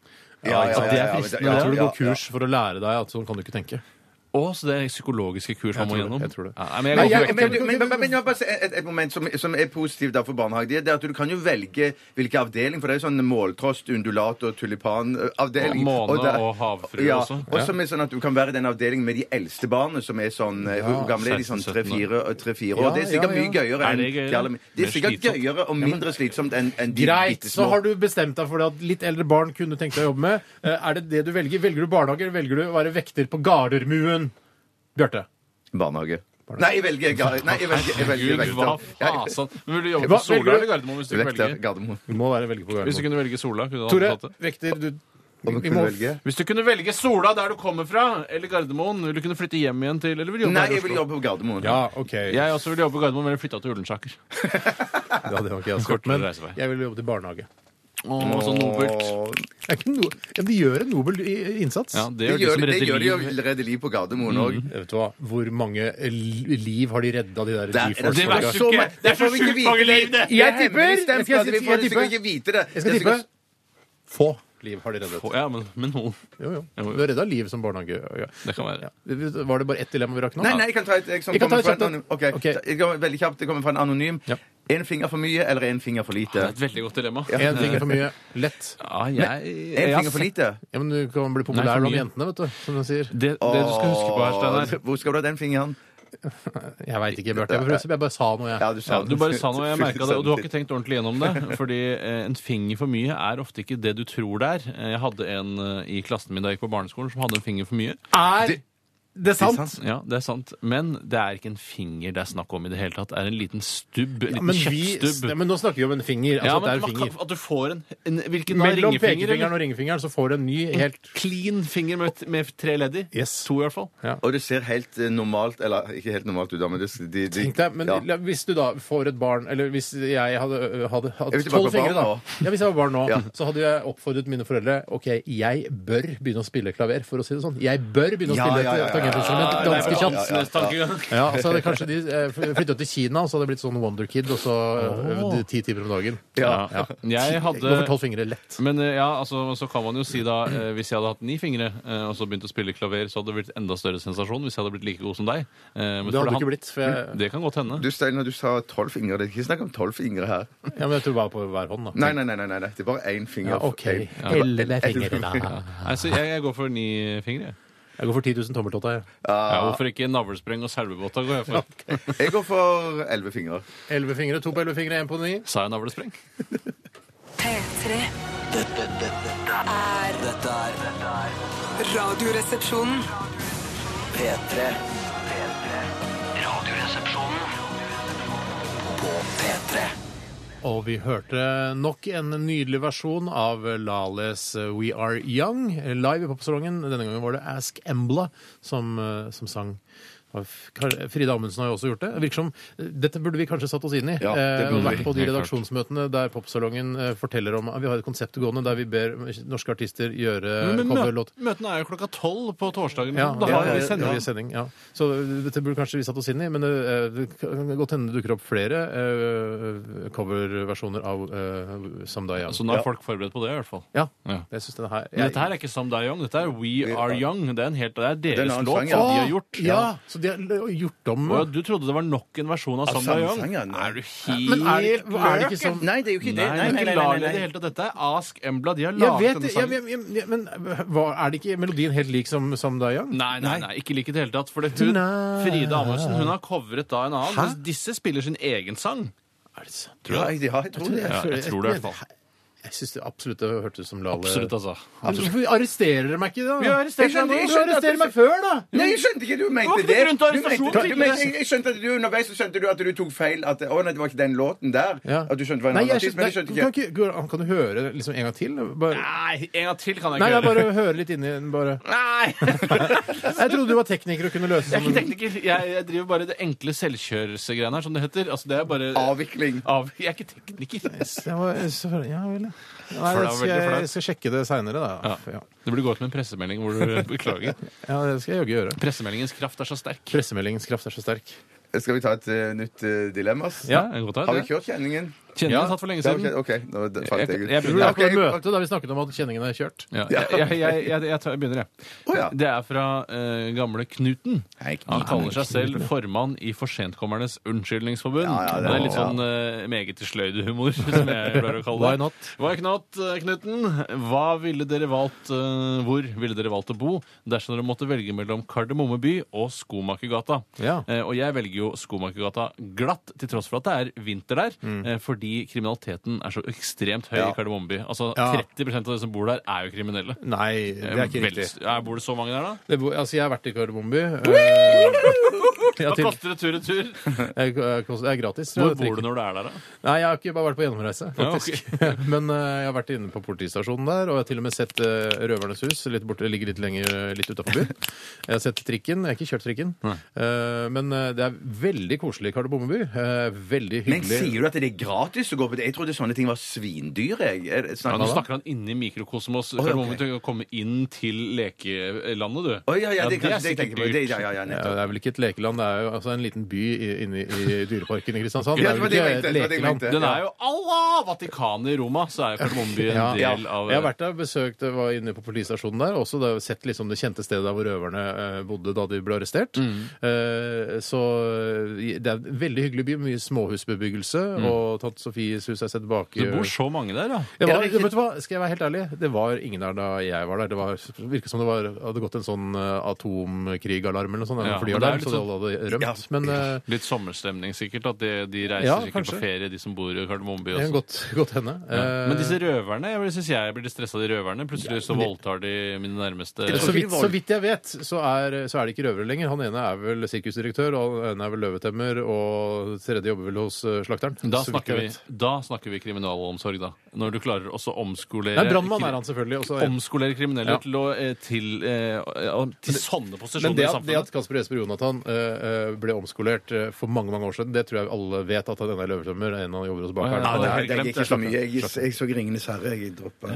Ja, ja, ikke sant? ja, det ja, er ja, fristende. ja, jeg tror du ja, går kurs for å lære deg at sånn kan du ikke tenke. Å, så det er psykologiske kurs man må tror det, gjennom. jeg tror det. Ja, nei, men jeg Men, går Nei, ikke jeg- vekter. men, men, men, men, men jeg vil bare si et, et moment som, som er positivt da for barnehage, det er at du kan jo velge hvilken avdeling. For det er jo sånn måltrost, undulat og Og tulipanavdeling. måne der- og havfrue ja, også. Og som er sånn at du kan være i den avdelingen med de eldste barna, som er sånn eh, Hvor gamle er de? Sånn 16-17 tre-fire år. Ja, Det er sikkert ja, ja. mye gøyere. Er enn det gøyere? de aller min- Det Mer er sikkert slitsomt. gøyere og mindre slitsomt enn enn de Greit, bitte så små. har du bestemt deg for det at litt eldre barn kunne tenkt deg å jobbe med. Eh, Er det det du velger? Velger du barnehage, eller velger du å være vekter på Gardermuen? Bjarte. Barnehage. Nei, jeg velger gar- Nei, jeg velger, jeg velger Gud, hva vekter. fasen? Men vil du jobbe Hva på Sola velger du? eller Gardermoen hvis du Jeg- kunne Vekter velge? Gardermoen. Du må være velger på Hvis du Gardermoen. kunne velge Sola, kunne du Tore, anbefalt det? vekter du Om du Vi kunne må- velge? Hvis du kunne velge Sola der du kommer fra, eller Gardermoen, vil du kunne flytte hjem igjen til Eller vil du jobbe Nei, her i jeg vil Oslo? jobbe på Gardermoen. Ja, OK. Jeg også vil jobbe på Gardermoen, men jeg flytta til Ullensaker. Ja, det var ikke jeg som Kortere men reisevei. jeg ville jobbe til barnehage. Åh, så sånn nobelt. Det er ikke no... ja, men de gjør en nobel i- innsats. Ja, det Det gjør de gjør som de det gjør redder de jo. liv. Mm. Redder liv på Gardermoen òg. Jeg Vet du hva? Hvor mange eh, li- liv har de redda, de der Det er- GeForce? det er folka? så- ikke- det er så sjukt mange liv, det. Jeg Jeg tipper- tipper! Jeg jeg skal si- altså. Vi jeg får tipper- sikkert ikke vite det. Jeg skal Det er tippe sikkert- få liv har de reddet. Å, Ja, men, men noen. Jo, jo. Jo, jo. Du har redda liv som barnehage. Ja. Det kan være. Ja. Var det bare ett dilemma vi rakk nå? Nei, nei, jeg kan ta et jeg som Vi kan kommer ta fra et en anonym. kjapt, da. Ok, Ok. Jeg kommer Veldig kjapt. Det kommer fra en anonym. Ja. En finger for mye eller en finger for Det er lite? et veldig godt dilemma. Eh, Én finger for mye. Lett. Ja, jeg, En jeg- finger for lite? Ja, men du kan bli Nei, populær for blant mye. jentene, vet du. Som de sier. Det, det du skal huske på her, Steinar Åh, Hvor skal du ha den fingeren? Jeg veit ikke, Bjarte. Jeg, prøver- jeg bare sa noe, jeg. Ja, du sa Ja, du bare sa noe, jeg merket det, og du har ikke tenkt tenkt ordentlig gjennom (laughs) det. Fordi eh, en finger for mye er ofte ikke det du tror det er. Eh, Jeg hadde en eh, i klassen min da jeg gikk på barneskolen, som hadde en finger for mye. Er Det- Det er sant. Ja, det er sant. Men det er ikke en finger det er snakk om i det hele tatt. Det er en liten stubb. En liten Men, vi, kjøttstubb. ja, men nå snakker vi om en finger. Altså Ja, at det er men en man kan, finger. at du får en, en Hvilken da? Mellom ringfinger? pekefingeren eller? og ringfingeren så får du en ny Mm. helt Clean finger med, med tre ledd i? Yes. To, i hvert fall. Og det ser helt eh, normalt Eller ikke helt normalt ut, da, men det, de, de, Tenk deg, men ja. la- Hvis du da får et barn, eller hvis jeg hadde, ø, hadde Jeg hatt vil tilbake tolv på fingre, barn da nå. ja, Hvis jeg var barn nå, (laughs) Ja. så hadde jeg oppfordret mine foreldre Ok, jeg bør begynne å spille klaver, for å si det sånn. Jeg bør begynne å Ja, spille ja, ja, et ja, ja. tangentinstrument ganske Ja, ja, ja. kjapt. Ja, så hadde kanskje de flytta til Kina, og så hadde det blitt sånn Wonder Kid, og så eh, øvde ti timer om dagen. Ja. Gå for Jeg hadde tolv fingre lett. men eh, ja, altså, så kan man jo si da eh, Hvis jeg hadde hatt ni fingre eh, og så begynt å spille klaver, så hadde det blitt enda større sensasjon hvis jeg hadde blitt like god som deg. Eh, men Det hadde for du ikke han- blitt. For Mm. jeg, Det kan godt hende. Du, Steinar, du sa tolv fingre. Det er ikke snakk om tolv fingre her. ja, men jeg tror bare på hver hånd, da. Nei, nei, nei. nei, nei. Det er bare én finger. Ja, OK. En- Elleve fingre, da. Nei, så jeg, jeg går for ni fingre. jeg. Jeg går for 10 000 tommeltotter. Ja, hvorfor ikke navlespreng og selbubotta? går jeg for? Jeg går for elleve fingre. Elleve fingre, to på elleve fingre, én på ni. Sa jeg navlespreng? P3 Dette, dette, dette er Dette er dette er Radioresepsjonen. P3 P3 Radioresepsjonen På P3 Og vi hørte nok en nydelig versjon av Lales We Are Young live i popsalongen. Denne gangen var det Ask Embla som, eh, som sang. Og F- Kar- Frida Amundsen har jo også gjort det. Det Virker som, eh, dette burde vi kanskje satt oss inn i. Ja, det Eh, burde og vært vi, på de helt klart. redaksjonsmøtene der popsalongen eh, forteller om Vi har et konsept gående der vi ber norske artister gjøre Men mø coverlåt. møtene er jo klokka tolv på torsdagen. Ja, da ja, har ja, vi ja, sending. ja, sending, ja. Så uh, dette burde kanskje vi satt oss inn i, men uh, det kan godt hende det dukker opp flere uh, coverversjoner av uh, Someday Young. Så nå er folk forberedt på det, i hvert fall. Ja. Altså, Ja. Jeg syns denne her Men dette her er ikke Sam Dae Young, dette er We Are Young. Det er, en helt, det er er en deres annen låt sang, som ja. de har gjort. Ja, så de har l- gjort om Og du trodde det var nok en versjon av Sam samme Dae Young? sang, ja, nei. Er du helt Men er det, er det ikke sånn Nei, det er jo ikke det. Nei, nei, nei, nei, nei, nei. Dette er Ask Embla. De har Jeg laget vet denne det, ja, sangen. men, men- men- men hva, er det ikke melodien helt lik som Someday Young? Nei, nei, nei, ikke lik i det hele tatt. For det, hun, Tonight. Frida Amundsen hun har covret da en annen. mens Disse spiller sin egen sang. Er det sant? Ja, jeg, ja, jeg tror det. Ja, jeg tror det i hvert fall. Jeg syns det absolutt det hørtes ut som Lale Absolutt, altså. Men Hvorfor arresterer dere meg ikke, da? Vi har arrestert Jeg skjønner, deg jeg nå. Du arresterer meg før, da! Nei, jeg skjønte ikke du mente var det! ikke noe grunn til å Du mente- arrestasjon, du sikkert. mente- jeg, jeg skjønte at du Underveis så skjønte du at du tok feil. At å, nei, det var ikke den låten der. Ja. At du skjønte det var en Nei, annen jeg artist, skjønte, nei, men jeg skjønte kan, ikke. ikke, kan- kan du høre liksom en gang til? Bare, Nei, en gang til kan jeg nei, ikke jeg gjøre. bare høre litt inni den, bare. Nei! Jeg trodde du var tekniker og kunne løse Jeg er ikke sånn. tekniker. Jeg, jeg driver bare det enkle selvkjørsgreiene her, som det heter. Altså, det er bare Avvikling. Av, jeg er ikke tekniker. Jeg var, så, ja vel, ja. Nei, Flau, jeg skal, veldig flau. jeg skal sjekke det seinere, da. Ja. Ja. Det burde gå ut med en pressemelding hvor du (laughs) beklager. ja, det skal jeg jaggu gjøre. Pressemeldingens kraft er så sterk. Pressemeldingens kraft er så sterk. Skal vi ta et eh, nytt eh, dilemma? ass? Ja, en god dag, Har vi det. kjørt kjenningen? Kjenner jeg tatt for lenge Det har vi siden. kjørt- OK, nå d- falt jeg Jeg- ut. jeg Tror du det Ja, var på det Ok, møtet da vi snakket om at kjenningen er kjørt? Ja, jeg, jeg, jeg, jeg, jeg, tar- jeg begynner, jeg. Å, ja. Det er fra eh, gamle Knuten. Hei, Knuten. Han kaller seg selv formann i For sentkommernes unnskyldningsforbund. Ja, ja, det det, var- er litt sånn eh, meget til sløydehumor, (laughs) som jeg pleier å kalle det. Why not? Why not, eh, Knuten? Hva ville dere valgt, eh, hvor ville dere valgt å bo dersom dere måtte velge mellom Kardemomme by og Skomakergata? Ja. Eh, og jeg velger jo Skomakergata glatt, til tross for at det er vinter der, Mm. eh, fordi kriminaliteten er så ekstremt høy Ja. i Kardemomme by. Altså, Ja. 30 av de som bor der, er jo kriminelle. Nei, det er ikke Vel- riktig. Ja, bor det så mange der, da? Det, bo- altså, jeg har vært i Kardemommeby. øh, ja, Hva til- koster det (laughs) tur-retur? jeg- jeg- Det er gratis. Hvor bor du når du er der, da? Nei, jeg har ikke bare vært på gjennomreise, Ja, faktisk. (laughs) Men eh, jeg har vært inne på politistasjonen der, og jeg har til og med sett eh, Røvernes hus. Litt borte, det ligger litt lenger eh, litt utafor (laughs) byen. Jeg har sett trikken. Jeg har ikke kjørt trikken. Eh, men eh, det er veldig koselig i Kardemommeby. Eh, veldig Men hyggelig. sier du at det er gratis å gå på det? Jeg trodde sånne ting var svindyr. Jeg. Er det- Ja, Snakker nå man da? snakker han inni mikrokosmos. ja, For nå må ok. du komme inn til lekelandet, du. Å ja, ja, det er kanskje det jeg sikkert tenker på. Det, ja, ja, ja, Ja, nettopp. det er vel ikke et lekeland, det er jo altså en liten by i- inne i, i Dyreparken i Kristiansand. Det Ja, er det var vel det ikke jeg et mente, det var det jeg lekeland. mente. Den er jo Allah! Vatikanet i Roma, så er jo Kardemommeby en Ja. del av Jeg har vært der, besøkt, var inne på politistasjonen der, også da, sett liksom det kjente stedet der hvor røverne eh, bodde da de ble arrestert. Mm. Eh, så eh, det er en veldig hyggelig by, mye småhusbebyggelse, og tatt Sofies hus har jeg sett bak eh, Det Mm. bor så mange der, ja. det var, Er det ikke- vet du hva, Skal jeg være helt ærlig, det var ingen der da jeg var der. Det var, virket som det var, hadde gått en sånn eh, atomkrigalarm eller noe sånt. eller Ja, flyalarm, men det er litt sånn- så de alle hadde rømt. Men eh, Litt sommerstemning sikkert. At de, de reiser Ja, sikkert kanskje. på ferie, de som bor i Kardemomme by. det også. kan godt, godt hende. Ja. Eh, Men disse røverne, jeg syns jeg blir litt stressa av de røverne. Plutselig så voldtar de mine nærmeste. så vidt, så vidt jeg vet, så er, så er det ikke røvere lenger. Han ene er vel sirkusdirektør, og han ene er vel løvetemmer, og tredje jobber vel hos eh, slakteren. Da så vidt jeg snakker, vi, vet. da snakker vi kriminalomsorg, da. Når du klarer også å omskolere Nei, brannmann kri- er han selvfølgelig. Også, Omskolere kriminelle Ja. til, å, eh, til, eh, eh, til sånne posisjoner Men det i at, det at samfunnet. Kasper Jesper Jonathan eh, eh, ble omskolert eh, for mange mange år siden, det tror jeg alle vet at han ene er løvetemmer, en han jobber hos Å, ja, bakeren. ja, og- ja. Nei, jeg det glemt gikk ikke det. så mye. Jeg, jeg så Ringenes herre. Jeg droppa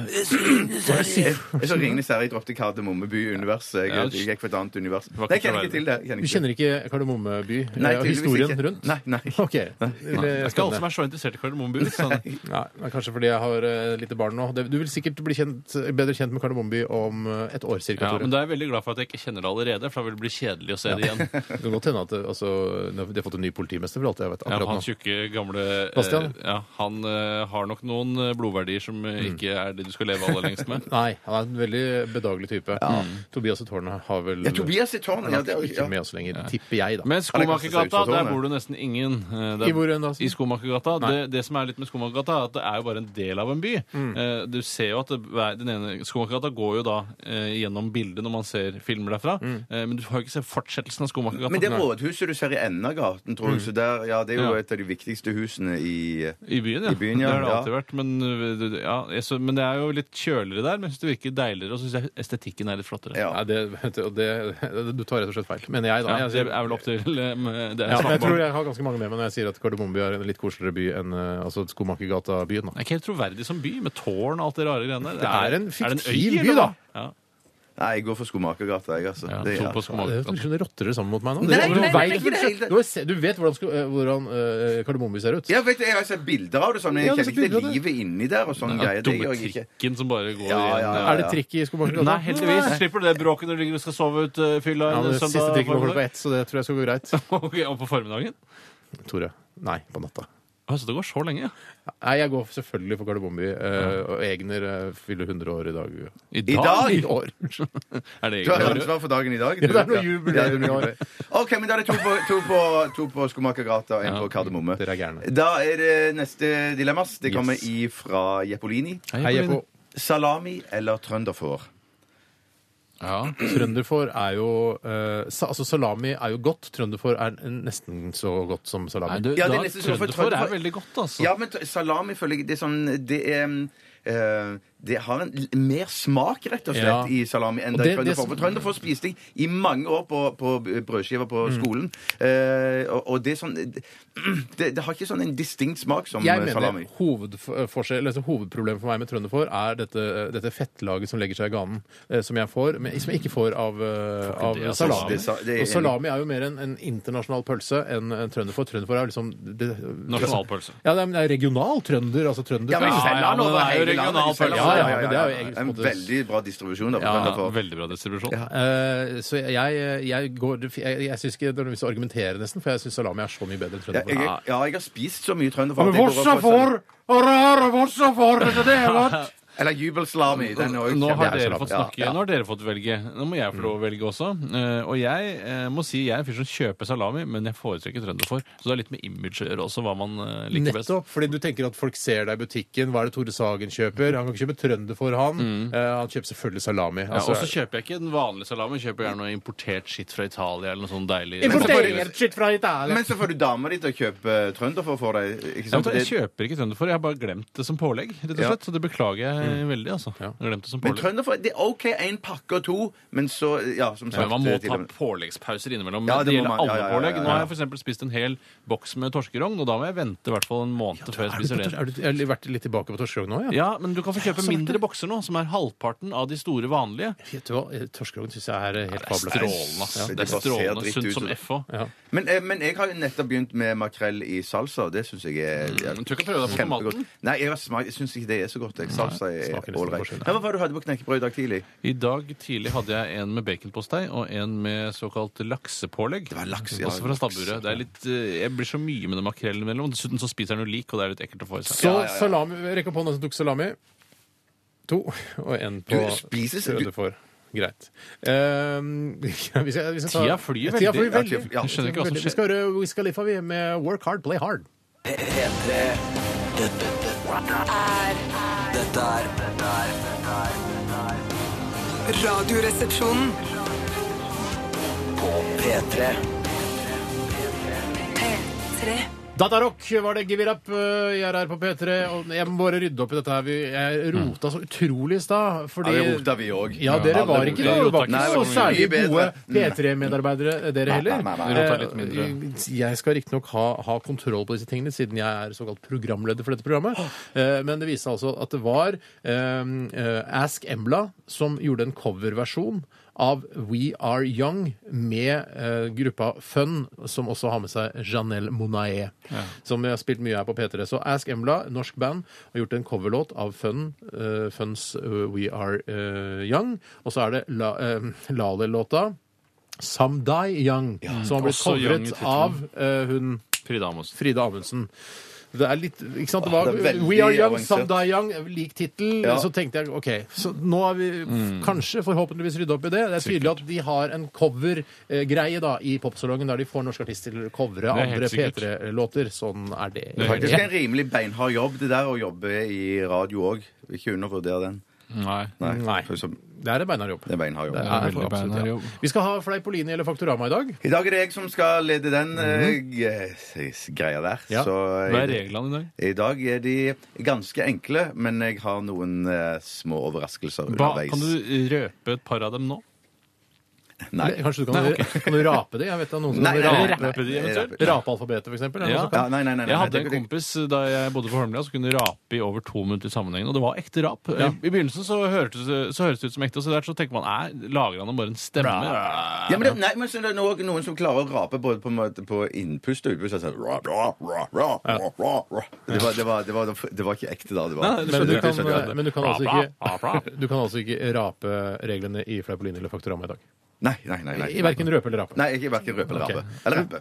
Jeg, jeg så Ringenes herre. Jeg droppet Kardemommeby-universet. Jeg, Ja, jeg gikk for et annet univers. var Nei, ikke så jeg kjenner veldig. ikke til det. Jeg Du ikke til det. kjenner ikke Kardemomme by? Nei, og tydeligvis historien ikke. rundt? Nei, nei. (laughs) Ok. Det Det er ikke alle som er så interessert i Kardemomme by. (laughs) liksom. Nei, det er Kanskje fordi jeg har eh, lite barn nå. Det- Du vil sikkert bli kjent, bedre kjent med Kardemomme by om eh, et år cirka. Ja, Tore. men da er jeg veldig glad for at jeg ikke kjenner det allerede, for da vil det bli kjedelig å se det (laughs) igjen. Det kan godt hende at eh, altså, de har fått en ny politimester for alt jeg vet. Ja, akkurat han nå. tjukke, gamle eh, Bastian? ja, Han eh, har nok noen eh, blodverdier som eh, ikke er det du skal leve aller lengst (laughs) med. Nei, han er en veldig bedagelig type. Mm. Tobias og Tårnet har vel Ja, Tobias i tårnet. Ja, det, Han er ja. ikke med oss lenger, tipper jeg, da. Men kastet seg Skomakergata, ut fra der tårnet. bor det nesten ingen. Eh, det er- I hvor enn da? I Skomakergata. Nei. Det, det som er litt med Skomakergata, er at det er jo bare en del av en by. Eh, Du ser jo at det, hver- den ene Skomakergata går jo da eh, gjennom bildet når man ser filmer derfra, Eh, men du har jo ikke sett fortsettelsen av Skomakergata. Men det Nei. Mm. rådhuset du ser i enden av gaten, tror jeg, så der, ja, det er jo Ja. et av de viktigste husene i I byen, ja. I byen, ja. Det har det Ja. alltid vært. Men, uh, det- det- ja, jeg så, men det er jo litt kjøligere der. Men jeg synes det virker deiligere, og så syns jeg estetikken er litt flottere. ja. Nei, det, og det, (laughs) du tar rett og slett feil, mener jeg, da. Ja, Jeg- altså, det er vel opp til um, det er Ja, men jeg snakk om. tror jeg har ganske mange med meg når jeg sier at Kardemomme by er en litt koseligere by enn eh, altså Skomakergata-byen. Det er ikke helt troverdig som by, med tårn og alt det rare greiene der. Det er en det fiktiv øy, by, eller da. hva? Ja, Nei, jeg går for Skomakergata, jeg, altså. ja, Det- to på Ja, det Skomakergata. høres ut som du rotter det sammen mot meg nå. Nei, Det- nei, du nei, vet- nei, ikke det hele tatt. Du, har sett- du vet hvordan, sko- eh, hvordan eh, Kardemomme by ser ut? Jeg vet det, jeg har sett bilder av det, sånn, men Ja, jeg men kjenner ikke selvfølgelig det det. livet inni der og sånn Den greier. Det dumme gjør jeg ikke. trikken som bare går Ja, igjen. ja, ja. Er det trikk i Skomakergata? Nei, heldigvis. Slipper du det bråket når du ligger og skal sove ut uh, fylla Ja, en men det siste søndag trikken går klokka formiddag? ett, så det tror jeg skal gå greit. (laughs) Ok, og på formiddagen? Tore. Nei, på natta. Altså, det går så lenge, ja. Nei, jeg går selvfølgelig for Kardemomme by. eh, Og Egner eh, fyller 100 år i dag. I (laughs) I dag? I år. Er det Du har egentlig ansvar for dagen i dag. Ja, du. det er noe jubileum i år. OK, men da er det to på, to på, to på Skomakergata og en på Kardemomme. Dere er gærne. Da er det neste dilemmas. Det kommer ifra Jeppolini. Hei, jeg på Salami eller trønderfår? Ja. Trønderfår er jo eh, sa, Altså salami er jo godt. Trønderfår er nesten så godt som salami. Nei, du, Ja, det er da, nesten som for Trønderfor Trønderfor. er veldig godt, altså. Ja, men t- salami føler jeg Det er sånn Det er eh, det har en l- mer smak, rett og Ja. slett, i salami enn Og det det- det trønderfår. som- For trønderfår spiste jeg i mange år på, på b- brødskiver på Mm. skolen. Eh, og, og det er sånn det, det har ikke sånn en distinkt smak som jeg eh, mener salami. hovedforskjell, altså Hovedproblemet for meg med trønderfår er dette, eh, dette fettlaget som legger seg i ganen, eh, som jeg får, men som jeg ikke får av, eh, av det, altså. salami. Det sa- det er og salami er jo mer en, en internasjonal pølse enn en trønderfår. Trønderfår er jo liksom det, Nasjonalpølse. Ja, det er, men det er regional trønder, altså trønder. Ja, men Ja, selger ja, han men over det er jo hele landet. regional Selger pølse. han- Ja, ja, men det er jo egentlig på en En måte- veldig bra distribusjon. Da, på Ja, trønderfår. veldig bra distribusjon. Eh, så jeg, jeg, går, jeg, jeg syns ikke det er noe vits å argumentere, nesten, for jeg syns salami er så mye bedre enn Ja, trønderfår. jeg, ja, jeg har spist så mye trønderfar. Men at jeg går vossa over for- får, og rare vossa får, vet du det er godt? sånn- Eller jubelsalami. Den er også Nå har kjempe- dere Ja, fått ja. snakke. Nå har dere fått velge. Nå må jeg få lov å velge også. Eh, Og jeg eh, må si jeg er en fyr som kjøper salami, men jeg foretrekker trønderfor. Så det er litt med image å gjøre også, hva man eh, liker best. Nettopp, fordi du tenker at folk ser deg i butikken. Hva er det Tore Sagen kjøper? Han kan ikke kjøpe trønder for han. Eh, han kjøper selvfølgelig salami. Mm. Ja, Altså, og så kjøper jeg ikke den vanlige salamen. jeg Kjøper gjerne noe importert skitt fra Italia eller noe sånn deilig. Men så får du- Importert shit fra Italia! Men så får du dama di til å kjøpe trønderfar for deg. Ikke Ja, sant? men Jeg Det- kjøper ikke trønderfor. Jeg har bare glemt det som pålegg, rett og Ja. Mm. slett. Så det beklager jeg veldig, altså. Jeg har Glemt det som Men pålegg. trønderfar det er OK, én pakke og to, men så Ja, som sagt. Men man må til ta og med- påleggspauser innimellom. Ja, det, det må gjelder man. Ja, alle ja, ja, pålegg. ja, ja. Nå har jeg for eksempel spist en hel boks med torskerogn, og da må jeg vente i hvert fall en måned før jeg Er du, spiser det. er du, er du vært litt tilbake på torskerogn nå? Ja. Ja, men du kan få kjøpe mindre bokser nå, som er halvparten av de store vanlige. Vet du hva? Torskerogn syns jeg er eh, helt Det er strålende. fabelaktig. ass. Ja. Det det er bare ser strålende dritt sunt ut, som det. F òg. Ja. Men, eh, men jeg har jo nettopp begynt med makrell i salsa, og det syns jeg er ja, Men Mm, du kan prøve deg på kjempegodt. tomaten. Nei, jeg, har smakt- jeg syns ikke det er så godt. Jeg, salsa er Smaker nesten ålreit. forskjell. Ja, Hva var det du hadde på knekkebrød i dag tidlig? I dag tidlig hadde jeg en med baconpostei og en med såkalt laksepålegg. Det var laks, ja, Også fra laks. stabburet. Det er litt, eh, Jeg blir så mye med den makrellen imellom. Dessuten så spiser jeg noe lik, og det er litt ekkelt å få i seg. Så salami Rekk opp hånda som tok salami. To. Og en på Du spiser- tredje du- for. Greit. Ehm, (laughs) vi skal, vi skal ta, Tida flyr Tida veldig. flyr veldig. Ja, tida- ja. Jeg skjønner ikke hva som Vi skjer. skal høre Wiz Khalifa vi, med Work Hard, Play Hard. P3 Dette, dette er Dette er dette er- dette er Radioresepsjonen. På P3 P3. Datarock var det Give It Up. eh, Jeg er her på P3. Og jeg må bare rydde opp i dette her. Vi- Jeg rota så utrolig i stad. Fordi Mm. Ja, det rota vi òg. Ja, dere Alle var rota. ikke, vi noe, rota var ikke ikke så så mye særlig gode bedre. Mm. P3-medarbeidere, eh, dere heller. nei, nei. Rota litt mindre. Eh, Jeg skal riktignok ha, ha kontroll på disse tingene, siden jeg er såkalt programleder for dette programmet. Eh, Men det viste seg altså at det var eh, eh, Ask Embla som gjorde en coverversjon av We Are Young med eh, gruppa Fun, som også har med seg Janelle Monae, som vi har spilt mye her på P3. Så Ask Embla, norsk band, har gjort en coverlåt av Fun, eh, Funs eh, We Are eh, Young, og så er det La, eh, Lale-låta Some Die Young, som har blitt også Young i covret tittelen. av eh, hun Frida Amundsen. Frida Amundsen. Det er litt, ikke sant? Det var, Det er veldig We Are Young, avansert. Some Die Young, lik tittel. Ja. Så tenkte jeg OK, så nå har vi kanskje, forhåpentligvis, rydda opp i det. Det er tydelig at de har en covergreie eh, da i popsalongen, der de får norske artister til å covre Det er helt andre sikkert. P3-låter. Sånn er det. Det er helt Faktisk en rimelig beinhard jobb, det der å jobbe i radio òg. Ikke undervurdere den. Nei. Nei. Nei. for som- Det er en beinhard jobb. Det er beinhard jobb. Ja, veldig absolutt, beinhard ja. jobb. Vi skal ha Fleipolini eller Faktorama i dag. I dag er det jeg som skal lede den eh, g- s- greia der. Ja. Så eh, Hva er reglene i dag? i dag er de ganske enkle, men jeg har noen eh, små overraskelser Hva, underveis. kan du røpe et par av dem nå? Nei. Kanskje du kan, (laughs) kan du rape det? Jeg vet da noen som Nei, nei, nei, raper nei, rape de nei, eventuelt? rape- Rapealfabetet, for eksempel. er det Ja. noen som kan? Ja, nei, nei, nei, nei, Jeg hadde det- en det- kompis da jeg bodde på Holmlia som kunne rape i over to minutter i sammenhengen, og det var ekte rap. I begynnelsen så hørtes, det- så høres det ut som ekte, og så der så tenker man nei, lager han bare en stemme? Ja, men det, nei, men så er det noen, noen som klarer å rape både på, en måte på innpust og utpust. Sånn, ra, ra, ra, ra, ra, ra, ra. Det, var, det, var, det, var, det var ikke ekte da. Det var, Nei, det Men du, kan, skjønner jeg. Det skjønner jeg. men du kan Bra, altså bra, ikke, bra, bra. (laughs) du kan altså ikke rape reglene i Fleipolini eller Faktorama i dag. nei, nei, nei, nei. I Verken røpe eller rape. Nei, ikke verken røpe eller Ok. rape. Eller rape.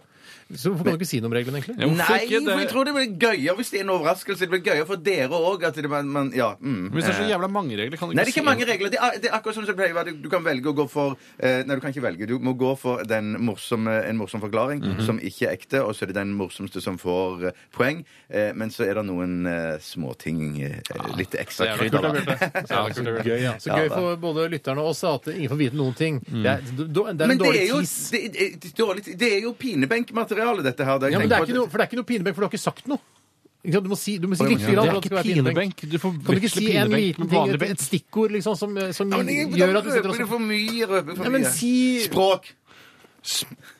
Så hvorfor kan du ikke si noe om reglene, egentlig? Ja, hvorfor Nei, ikke? for jeg tror det blir gøyere hvis det er en overraskelse. Det blir gøyere for dere òg. Man, man, ja, mm. Hvis det er så jævla mange regler, kan du Nei, det er si- ikke mange regler. Det er, det er akkurat sånn som det pleier å være. Du kan velge å gå for eh, Nei, du kan ikke velge. Du må gå for den morsomme, en morsom forklaring Mhm. som ikke er ekte, og så er det den morsomste som får eh, poeng. Eh, men så er det noen eh, småting eh, Ah, Litt ekstra jævla krydder. kult, da. Ja, så gøy, ja. så gøy Ja, da. for både lytterne og oss da, at ingen får vite noen ting. Det er, det er en Men det dårlig er jo, tis. det, det, det er dårlig, det er jo pinebenkmateriale, dette her. Ja, men det er ikke noe, for det er ikke noe pinebenk, for du har ikke sagt noe. Ikke sant? Du må si, du må si litt Det grann er for at det ikke skal være pinebenk. pinebenk. Kan du ikke Du forveksler si en pinebenk liten med ting, vanlig et, benk. et stikkord, liksom, som, som Ja, men jeg- gjør da at du sitter og røper du for mye. Røper for Ja, men mye. si- Språk.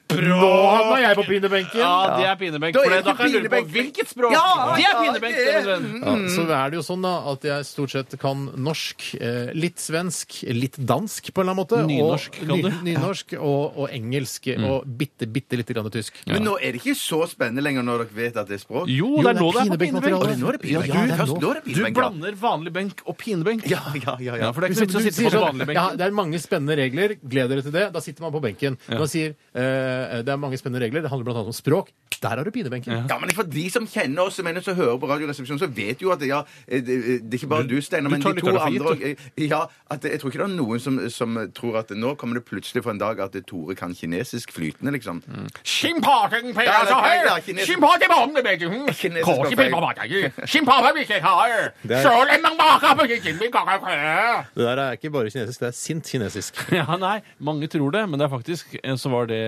Nå havna jeg på pinebenken! Ja, det er pinebenk. Da er For det da kan jeg lure på pinebenk. hvilket språk! Ja, det er ja, pinebenk! det er- min venn. Ja, så er det jo sånn da at jeg stort sett kan norsk, eh, litt svensk, litt dansk på en eller annen måte. Nynorsk og, kan du. Mm. Ny, (laughs) nynorsk og, og engelsk og bitte, bitte lite grann tysk. Men nå er det ikke så spennende lenger når dere vet at det er språk. Jo, det er nå det er på pinebenkmateriale. pinebenk. Å, det er nå det er pinebenk. Ja, du, det er først nå. nå er det Du pinebenk. ja. blander vanlig benk og pinebenk. (laughs) Ja, ja, ja. Ja, ja. for det er Hvis ikke noe du vits å sitte sier på sånn, den vanlige ja, benken. det er mange spennende regler. Gled dere til det. Da sitter man på benken. Man sier eh, det er mange spennende regler. Det handler blant annet om språk. Der har du pinebenken. Ja, men For de som kjenner oss men som hører på Radioresepsjonen, så vet jo at ja, eh, det, det er ikke bare du, Steinar, du men tar de to lytterne for gitt, andre og- ja, at det- Jeg tror ikke det er noen som, som tror at nå kommer det plutselig for en dag at Tore kan kinesisk flytende, liksom. Mm. Ja, altså, det er- det er kinesisk. Mm. Kinesisk på Det feil. der er ikke bare kinesisk, det er sint kinesisk. (laughs) Ja, nei, mange tror det, men det er faktisk eh, så var det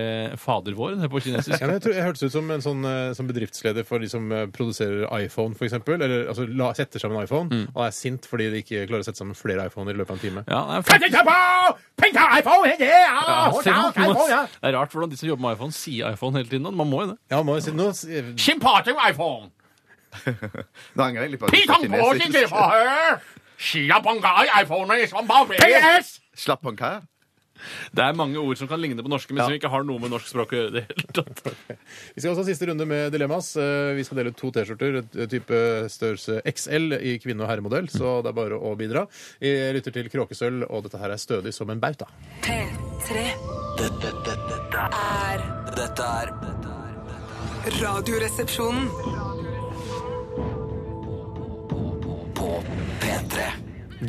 Fader vår det er på kinesisk. Ja, men jeg, tror, jeg hørtes ut som en sånn, eh, som bedriftsleder for de som eh, produserer iPhone, for eksempel, Eller altså, la, setter sammen iPhone, og er sint fordi de ikke klarer å sette sammen flere iPhoner i løpet av en time. Ja, nei, faktisk, ja, se, hvordan- det er rart hvordan de som jobber med iPhone, sier iPhone hele tiden. og Man må jo det. Ja, må jeg si, nå, s- eh, Nå angrer jeg litt på at jeg sa kinesisk. Slapp på en hva? Det er mange ord som kan ligne på norske, men som ikke har noe med norsk språk å gjøre i det hele tatt. Vi skal også ha siste runde med dilemmas. Eh, Vi skal dele ut to T-skjorter, et- type størrelse XL i kvinne- og herremodell, så det er bare å bidra. Jeg lytter til Kråkesølv, og dette her er stødig som en bauta. P3 Dette, dette, dette er- er dette er dette er- Radioresepsjonen. På P3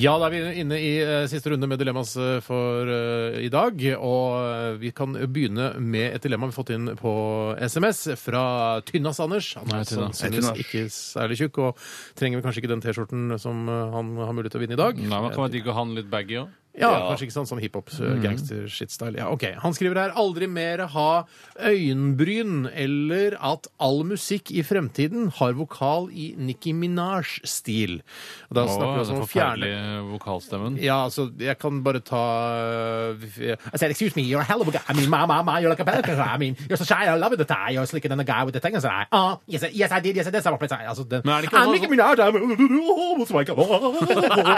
Ja, da er vi inne i eh, siste runde med dilemmas eh, for eh, i dag. Og eh, vi kan begynne med et dilemma vi har fått inn på SMS fra Tynnas Anders. Han Hei, er Tynna. sannsynligvis Hei, Tynna. ikke særlig tjukk, og trenger vel kanskje ikke den T-skjorten som eh, han har mulighet til å vinne i dag. Nei, man kan være digg å ha Mm. den litt baggy òg. Ja, kanskje ikke sånn som hiphop, eh, gangster, shit-style. Ja, ok. Han skriver her aldri mer ha øyenbryn eller at all musikk i fremtiden har vokal i Nicki Minaj-stil. Og Da snakker vi altså om å fjerne vokalstemmen. ja, altså, jeg kan bare ta I said, excuse me, you're a hell of a guy. I mean, my, my, my, you're like a better guy. I mean, you're so shy, I love the tie. You're slicker than the guy with the thing. I said, I, ah, yes, I- yes, I did, yes, I did. Så jeg bare, Altså, det, Men er det ikke I'm også- Nicki Minaj, I'm-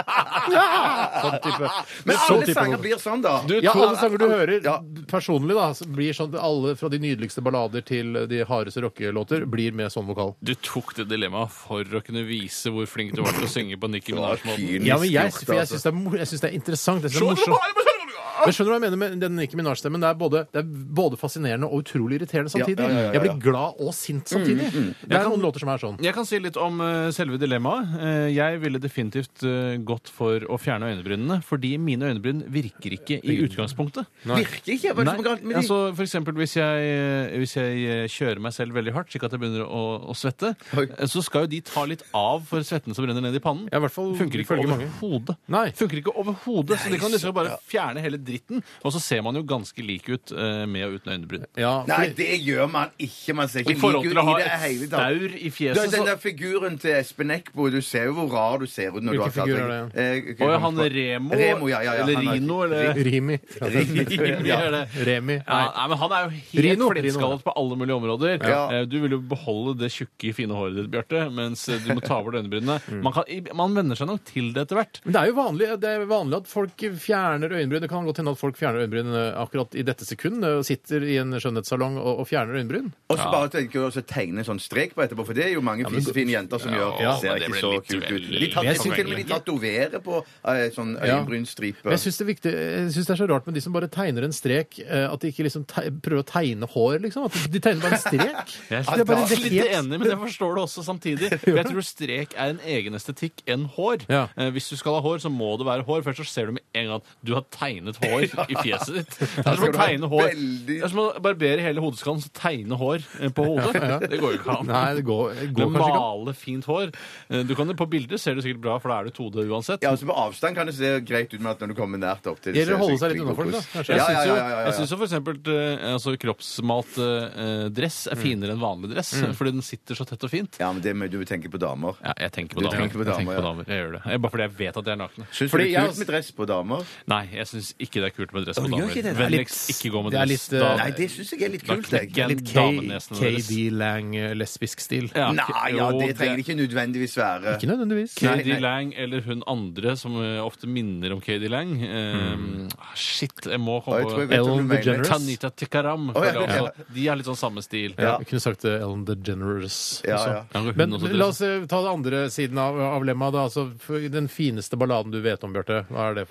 Sånn type. Men sånn alle type sanger blir sånn, da. Du, (laughs) ja, to- alle sanger du hører Ja. personlig, da, så blir sånn alle fra de nydeligste ballader til de hardeste rockelåter, blir med sånn vokal. Du tok det dilemmaet for å kunne vise hvor flink du var til å synge på Nicki Minaj-måten. Kynisk Ja, men jeg, gjort, for jeg altså. syns det, er mor- jeg synes det er interessant. Jeg synes det er morsomt. Men skjønner du hva jeg mener med den Nicki Minaj-stemmen? Det, er både- det er både fascinerende og utrolig irriterende samtidig. ja, ja, ja, Mm, ja. Jeg blir glad og sint samtidig. Det er noen låter som er sånn. Jeg kan si litt om eh, selve dilemmaet. Eh, jeg ville definitivt eh, gått for å fjerne øynebrynene, fordi mine øynebryn virker ikke i utgangspunktet. Virker ikke? Hva er det som er galt med de? altså, for eksempel hvis jeg, eh, hvis jeg eh, kjører meg selv veldig hardt, slik at jeg begynner å, å svette, Oi. eh, så skal jo de ta litt av for svetten som renner ned i pannen. Ja, i hvert fall Funker ikke ifølge mange. overhodet. Nei. Funker ikke overhodet, så de kan liksom bare fjerne hele dritten, og så ser man jo ganske lik ut eh, med og uten øynebryn. Ja, Nei, fordi, det gjør man ikke. Man ser I ikke forhold lik til ut å ha i det et hele tatt. staur i Du, fjeset, den så der figuren til Espen Eckbo, du ser jo hvor rar du ser ut Hvilken når du har figur er tatt deg- Eh, Å ja, han Remo, Remo, ja, ja, ja. eller Han er- (laughs) Rino, eller eh, Rimi. Rimi, Ja. er det. (laughs) Remi. Ja, Nei. nei, men han er jo helt Rino, Rino, flintskallet på alle mulige områder. Ja. Eh, Du vil jo beholde det tjukke, fine håret ditt, Bjarte, mens eh, du må ta (laughs) over øyebrynene. Mm. Man, kan, i- man venner seg nok til det etter hvert. Men det er jo vanlig, det er vanlig at folk fjerner øyenbryn. Det kan godt hende at folk fjerner øyenbryn eh, akkurat i dette sekund. eh, og Sitter i en skjønnhetssalong og, og fjerner øyenbryn. Og så bare tenker jeg også å tegne en sånn strek på etterpå, for det er jo mange fisefine jenter som gjør. ja, ser men det ikke blir så litt kult ut. veldig- De tar- Jeg jeg synes synes- til og med de tatoverer på eh, sånn Ja. øyenbrynstripe. Men jeg syns det, er viktig- jeg synes det er så rart med de som bare tegner en strek, eh, at de ikke liksom te prøver å tegne hår, liksom. At de tegner bare en (laughs) strek. Jeg Det er bare er litt helt- enig, men jeg forstår det også (laughs) samtidig. For Jeg tror strek er en egen estetikk enn hår. Ja. Eh, Hvis du skal ha hår, så må det være hår. Først så ser du med en gang at du har (laughs) tegnet hår i fjeset ditt. Det er som å du ha tegne hår. veldig- Det er som å barbere hele hodeskallen, så tegne hår eh, på hodet. Det går jo ikke an. Nei, det går, det Du går kanskje ikke an. male fint hår. Eh, Du kan, på bilder ser det sikkert bra, for da er du todød uansett. Ja, altså På avstand kan det se greit ut, men at når du kommer nært opp til det Gjelder å ser holde seg litt skikkelig unna folk, da, kokos. kanskje. Ja, Jeg ja, syns ja, jo, ja, ja, jeg ja. synes jo for eksempel eh, altså, kroppsmalt eh, dress Mm. er finere enn vanlig dress, fordi den sitter så tett og fint. ja, men det må du tenke på damer. Ja, jeg tenker på Du damer. tenker på jeg damer, tenker på ja. damer. Jeg gjør det. Jeg, bare fordi jeg vet at de er nakne. Syns du Fordi det jeg er kult også- med dress på damer? Nei, jeg syns ikke det er kult med dress på Å, gjør damer. ikke det? Det er Vennligst litt- ikke gå med det er dress. litt, eh, Da- Nei, det syns jeg er litt da kult, jeg. knekker Litt damenesene K- deres. KD Lang, eh, lesbisk stil. Ja, Nei, ja, jo, det trenger ikke nødvendigvis være Ikke nødvendigvis. Nei, KD nei. Lang eller hun andre som eh, ofte minner om KD Lang. Eh, ah, Shit, jeg må Å, komme jeg Mm. tror jeg på vet hvem Ellen du mener. DeGeneres. Tanita Tikaram. Å, ja, føler jeg ja. også. De er litt sånn samme stil. Ja. Jeg kunne sagt eh, Ellen DeGeneres. Ja, også. ja. Ja, hun Men også, la oss eh, ta det andre siden av, av lemma. Da. Altså, for den fineste balladen du vet om, Bjarte. Hva er det?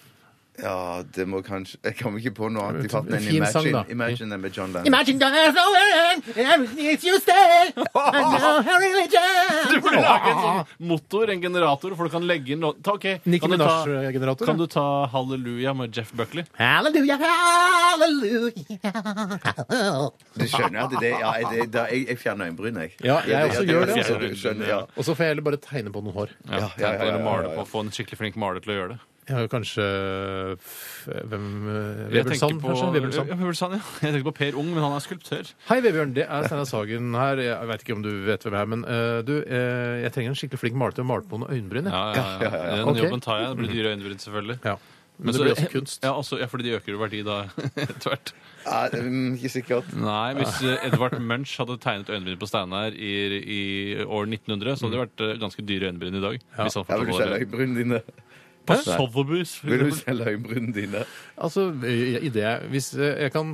Ja, det må kanskje Jeg kommer ikke på noe annet i farten enn Fin sang, Imagine. da. Imagine den med John Lennon. Imagine there's no end, everything is you say, and no religion. (laughs) Du burde lage en sånn motor, en generator, for du kan legge inn låt- ta, ok, Nicki kan du ta- Minaj-generator, Kan ja. du ta Halleluja med Jeff Buckley? Halleluja, halleluja. Du skjønner at det ja, det, da, jeg, jeg fjerner øyenbryn, jeg. Ja, jeg også det- gjør det- det, altså. så du skjønner, ja. Og så får jeg heller bare tegne på noen hår. Ja, ja, ja, ja, bare ja, male ja, ja. på, Få en skikkelig flink maler til å gjøre det. Jeg har jo kanskje f- Hvem eh, Jeg Vebjørn tenker Sand, på- kanskje? Vebjørn Sand. Ja, Vebjørn Sand, ja. (laughs) Jeg tenker på Per Ung, men han er skulptør. Hei, Vebjørn. Det er Steinar Sagen her. Jeg vet ikke om du vet hvem jeg er, men eh, du, eh, jeg trenger en skikkelig flink maler til å male på noen øyenbryn. jeg. Ja, ja, ja. Den Ok. jobben tar jeg. Det blir dyre øyenbryn, selvfølgelig. Ja. Men, det så- blir også kunst. Ja, også, ja, fordi de øker jo verdi da (laughs) etter hvert. Ja, mm, ikke sikkert. Nei, hvis eh, Edvard Munch hadde tegnet øyenbryn på Steinar Mm. i, i år 1900, så hadde det vært eh, ganske dyre øyenbryn i dag. Hvis han Jeg fortsatt vil var selge det. øyenbrynene dine. På Sotheby's. for Vil du eksempel. selge øyenbrynene dine? Altså, i i det jeg- hvis eh, jeg kan